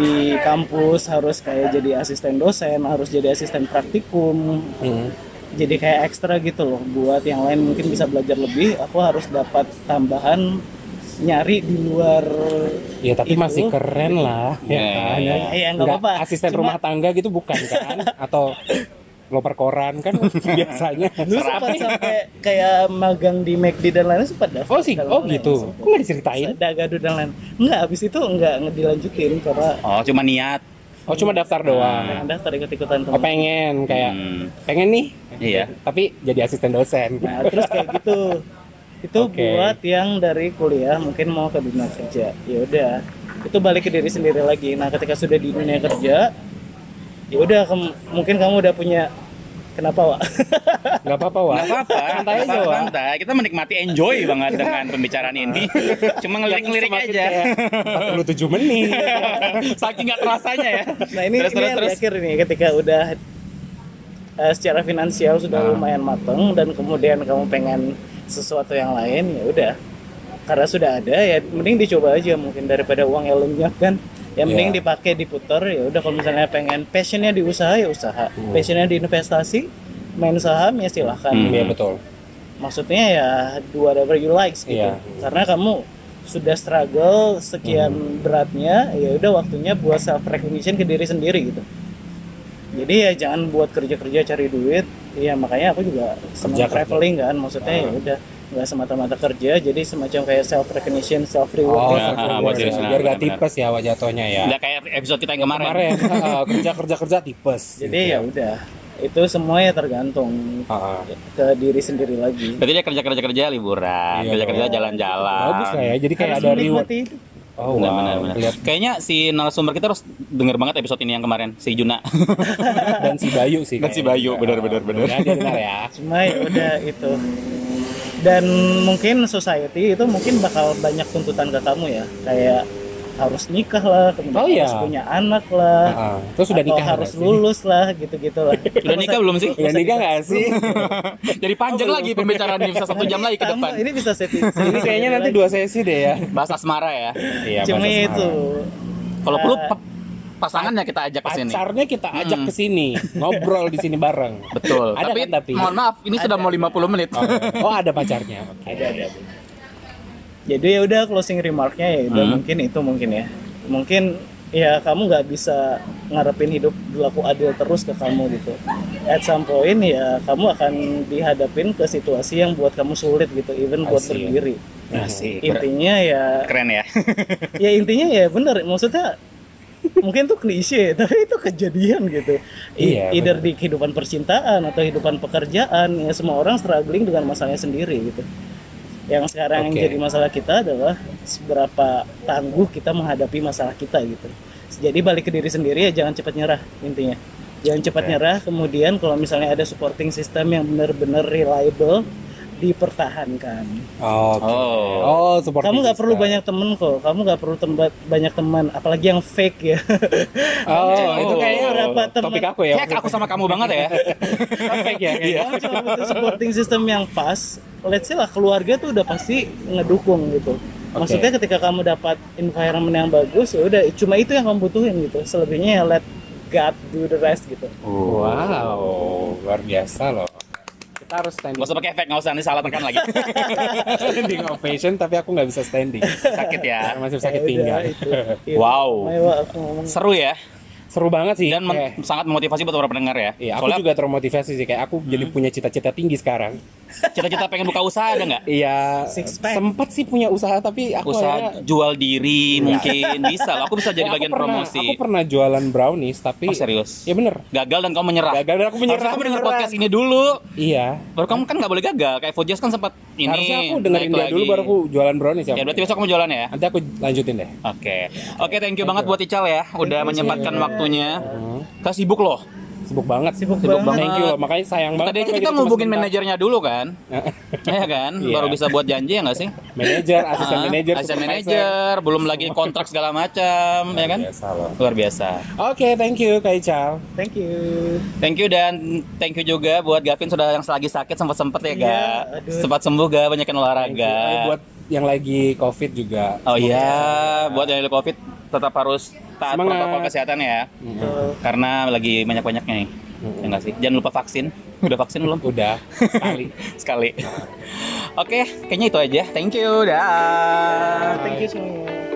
Speaker 3: di kampus harus kayak jadi asisten dosen harus jadi asisten praktikum
Speaker 1: Hmm.
Speaker 3: jadi kayak ekstra gitu loh buat yang lain mungkin bisa belajar lebih aku harus dapat tambahan nyari di luar
Speaker 1: Ya tapi
Speaker 3: Itu.
Speaker 1: masih keren lah. Ya,
Speaker 2: Iya,
Speaker 1: kan?
Speaker 2: iya,
Speaker 3: iya, nggak
Speaker 1: Nggak
Speaker 3: apa-apa.
Speaker 1: Asisten
Speaker 3: Cuma-
Speaker 1: rumah tangga gitu bukan kan? Atau loper koran kan biasanya.
Speaker 3: lu sempat sampai kayak magang di McD dan lain-lain sempat daftar
Speaker 1: Oh sih,
Speaker 3: dan
Speaker 1: oh
Speaker 3: lain-lain.
Speaker 1: gitu. Kok nggak diceritain?
Speaker 3: Sempat ada gaduh dan lain enggak habis itu enggak dilanjutin karena
Speaker 2: Oh, cuma niat.
Speaker 1: Oh cuma daftar doang.
Speaker 3: pengen daftar ikut-ikutan teman
Speaker 1: Oh pengen kayak
Speaker 2: Hmm,
Speaker 1: pengen nih,
Speaker 2: Iya.
Speaker 1: tapi jadi asisten dosen.
Speaker 3: Nah, terus kayak gitu. Itu
Speaker 1: Oke.
Speaker 3: buat yang dari kuliah mungkin mau ke dunia kerja. Ya udah, itu balik ke diri sendiri lagi. Nah, ketika sudah di dunia kerja, ya udah kem- mungkin kamu udah punya kenapa, Wak?
Speaker 1: Nggak apa-apa, Wak.
Speaker 2: Nggak apa-apa,
Speaker 1: Santai
Speaker 2: nggak
Speaker 1: aja,
Speaker 2: apa-apa,
Speaker 1: Wak.
Speaker 2: santai. Kita menikmati enjoy banget dengan pembicaraan ini. Cuma ngelirik-ngelirik
Speaker 1: Semakin
Speaker 2: aja.
Speaker 1: kayak 47 menit.
Speaker 2: Saking nggak terasanya ya.
Speaker 3: Nah, ini
Speaker 2: terus terus
Speaker 3: ini yang
Speaker 2: terus.
Speaker 3: di akhir nih ketika udah eh, secara finansial
Speaker 2: Ah.
Speaker 3: sudah lumayan mateng dan kemudian kamu pengen sesuatu yang lain, ya udah. Karena sudah ada ya mending dicoba aja mungkin daripada uang yang lenyap kan. Yang mending
Speaker 1: Iya.
Speaker 3: dipakai diputar ya udah kalau misalnya pengen passionnya di usaha ya usaha, passionnya di investasi, main saham ya silahkan.
Speaker 1: Iya betul.
Speaker 3: Maksudnya ya do whatever you like gitu.
Speaker 1: Iya.
Speaker 3: Karena kamu sudah struggle sekian
Speaker 1: Hmm.
Speaker 3: beratnya, ya udah waktunya buat self recognition ke diri sendiri gitu. Jadi ya jangan buat kerja-kerja cari duit. Iya makanya aku juga senang
Speaker 1: Kerja, Ah. kerja.
Speaker 3: traveling kan, maksudnya ya udah nggak semata-mata kerja, jadi semacam kayak gitu. self recognition, self
Speaker 1: Oh,
Speaker 3: reward.
Speaker 2: iya,
Speaker 1: self-reward.
Speaker 2: ah, buat diri sendiri,
Speaker 1: biar nggak
Speaker 2: benar-benar.
Speaker 1: tipes ya Wak, jatuhnya ya.
Speaker 2: Nggak kayak episode kita yang kemarin.
Speaker 1: Kemarin ah, kerja kerja kerja tipes. Gitu.
Speaker 3: Jadi ya udah itu semua ya tergantung
Speaker 1: Iya. Ah, ah.
Speaker 3: ke diri sendiri lagi.
Speaker 2: Berarti dia kerja kerja kerja liburan,
Speaker 1: Iya
Speaker 2: kerja kerja
Speaker 1: dong.
Speaker 2: jalan-jalan.
Speaker 1: Bagus lah ya. Jadi kayak
Speaker 3: Harus
Speaker 1: ada reward.
Speaker 3: menikmati hidup.
Speaker 1: Oh,
Speaker 2: Benar,
Speaker 1: wow.
Speaker 2: benar, benar.
Speaker 1: Lihat
Speaker 2: Kayaknya si narasumber kita harus denger banget episode ini yang kemarin, si Juna.
Speaker 1: dan si Bayu sih.
Speaker 2: Dan si
Speaker 1: kayaknya.
Speaker 2: Bayu, benar, benar, benar.
Speaker 1: Ya, dia dengar ya.
Speaker 3: cuma ya udah itu dan mungkin society itu mungkin bakal banyak tuntutan ke kamu ya kayak harus nikah lah, kemudian
Speaker 1: Oh, iya.
Speaker 3: harus punya anak lah.
Speaker 1: Heeh. Terus sudah
Speaker 3: atau
Speaker 1: nikah
Speaker 3: harus
Speaker 1: nggak sih?
Speaker 3: lulus lah gitu-gitu lah.
Speaker 2: Udah nikah belum sih?
Speaker 1: Udah nikah nggak sih?
Speaker 3: Iya,
Speaker 2: Jadi panjang lagi pembicaraan ini bisa satu jam lagi ke
Speaker 3: Tambah,
Speaker 2: depan.
Speaker 3: Ini bisa setting.
Speaker 1: Ini kayaknya nanti dua sesi deh ya.
Speaker 2: Bahas asmara ya. Iya,
Speaker 3: Cuma
Speaker 2: bahas asmara.
Speaker 3: itu.
Speaker 2: Kalau perlu
Speaker 3: Eh,
Speaker 2: pe- pasangannya kita ajak ke sini.
Speaker 1: Pacarnya kita ajak
Speaker 2: Mm.
Speaker 1: ke sini, ngobrol di sini bareng.
Speaker 2: Betul.
Speaker 1: Ada
Speaker 2: tapi,
Speaker 1: kan tapi?
Speaker 2: mohon maaf, ini sudah mau 50 menit.
Speaker 1: Oh, ada pacarnya. Oke.
Speaker 3: ada ada. Jadi ya udah closing remarknya ya udah
Speaker 2: Hmm.
Speaker 3: mungkin itu mungkin ya. Mungkin ya kamu nggak bisa ngarepin hidup berlaku adil terus ke kamu gitu. At some point ya kamu akan dihadapin ke situasi yang buat kamu sulit gitu, even buat
Speaker 1: Asik.
Speaker 3: sendiri.
Speaker 1: nah,
Speaker 2: Asik.
Speaker 3: Intinya ya,
Speaker 2: Keren ya.
Speaker 3: ya intinya ya bener. Maksudnya mungkin tuh klise tapi itu kejadian gitu I-
Speaker 1: Iya,
Speaker 3: either
Speaker 1: bener.
Speaker 3: di kehidupan percintaan atau kehidupan pekerjaan ya semua orang struggling dengan masalahnya sendiri gitu yang
Speaker 1: Oke.
Speaker 3: sekarang yang jadi masalah kita adalah seberapa tangguh kita menghadapi masalah kita gitu jadi balik ke diri sendiri ya jangan cepat nyerah intinya jangan cepat nyerah kemudian kalau misalnya ada supporting system yang benar-benar reliable dipertahankan
Speaker 1: Oke.
Speaker 2: Oh.
Speaker 1: Oh, support
Speaker 3: kamu nggak
Speaker 1: system.
Speaker 3: perlu banyak temen kok kamu nggak perlu temba- banyak teman apalagi yang fake ya
Speaker 1: Oh, itu kayaknya
Speaker 2: Oh,
Speaker 3: berapa teman
Speaker 1: topik aku ya.
Speaker 2: Kayak aku sama kamu banget ya.
Speaker 1: Topik ya.
Speaker 3: Iya. Kalau butuh supporting system yang pas, let's say lah keluarga tuh udah pasti ngedukung gitu. Maksudnya ketika kamu dapat environment yang bagus, ya udah cuma itu yang kamu butuhin gitu. Selebihnya ya let God do the rest gitu.
Speaker 1: Oh, Wow, luar biasa loh. Kita harus standing,
Speaker 2: Gak usah pakai efek, gak usah nanti salah tekan lagi.
Speaker 1: standing ovation, tapi aku nggak bisa standing.
Speaker 2: Sakit ya.
Speaker 1: Karena masih
Speaker 3: Ya
Speaker 1: sakit
Speaker 3: udah,
Speaker 1: pinggang.
Speaker 3: itu. Itu.
Speaker 2: Wow.
Speaker 3: Ayo, aku ngomong.
Speaker 2: Seru ya.
Speaker 1: Seru banget sih.
Speaker 2: Dan men-
Speaker 1: Kayak-
Speaker 2: sangat memotivasi buat para pendengar ya.
Speaker 1: Iya, aku
Speaker 2: Soalnya Hmm.
Speaker 1: juga termotivasi sih kayak aku jadi punya cita-cita tinggi sekarang.
Speaker 2: cita-cita pengen buka usaha ada nggak?
Speaker 1: Iya,
Speaker 3: Six pack.
Speaker 1: sempat sih punya usaha tapi aku akhirnya-
Speaker 2: Usaha jual diri mungkin bisa. lah. Aku bisa
Speaker 1: Eh,
Speaker 2: jadi
Speaker 1: aku
Speaker 2: bagian
Speaker 1: pernah-
Speaker 2: promosi.
Speaker 1: Aku pernah jualan brownies tapi
Speaker 2: Oh, serius.
Speaker 1: Ya bener.
Speaker 2: Gagal dan kamu menyerah.
Speaker 1: Gagal dan aku menyerah,
Speaker 2: Harusnya kamu denger
Speaker 1: beneran.
Speaker 2: podcast ini dulu.
Speaker 1: Iya.
Speaker 2: Baru kamu kan nggak boleh gagal. Kayak Fojas kan sempat ini.
Speaker 1: Harusnya aku dengerin
Speaker 2: naik
Speaker 1: dia
Speaker 2: lagi.
Speaker 1: dulu baru aku jualan brownies ya.
Speaker 2: Ya berarti besok kamu jualan ya.
Speaker 1: Nanti aku lanjutin deh.
Speaker 2: Oke, oke, thank you banget buat Ical ya, udah menyempatkan waktunya.
Speaker 1: Hmm.
Speaker 2: Kita sibuk loh.
Speaker 1: Sibuk banget.
Speaker 3: Sibuk,
Speaker 2: Sibuk
Speaker 3: banget.
Speaker 1: Thank you loh, makanya sayang banget.
Speaker 2: Tadi
Speaker 1: kalau
Speaker 2: aja kita
Speaker 1: gitu cuma
Speaker 2: ngubungin
Speaker 1: sebentar.
Speaker 2: manajernya dulu kan, ya kan,
Speaker 1: Iya.
Speaker 2: baru bisa buat janji ya nggak sih?
Speaker 1: manajer, asisten
Speaker 2: Ah,
Speaker 1: manajer,
Speaker 2: asisten
Speaker 1: supervisor.
Speaker 2: manajer, belum lagi kontrak segala macam, ya kan?
Speaker 1: Biasa loh.
Speaker 2: Luar biasa.
Speaker 1: Oke, thank you Kak Ical.
Speaker 3: Thank you.
Speaker 2: Thank you dan thank you juga buat Gavin sudah yang lagi sakit sempat sempet ya,
Speaker 3: Iya,
Speaker 2: Gak?
Speaker 3: aduh.
Speaker 2: Sempat sembuh gak, banyakin
Speaker 1: Thank you.
Speaker 2: olahraga.
Speaker 1: Eh, Buat yang lagi COVID juga.
Speaker 2: Oh iya, buat yang ada covid tetap harus taat
Speaker 1: Semangat.
Speaker 2: protokol kesehatan ya,
Speaker 3: Tuh.
Speaker 2: karena lagi banyak-banyaknya nih. Ya nggak sih? Jangan lupa vaksin. Udah vaksin belum?
Speaker 1: Udah sekali.
Speaker 2: sekali. Oke, kayaknya itu aja. Thank you. Dah.
Speaker 3: Thank you semuanya.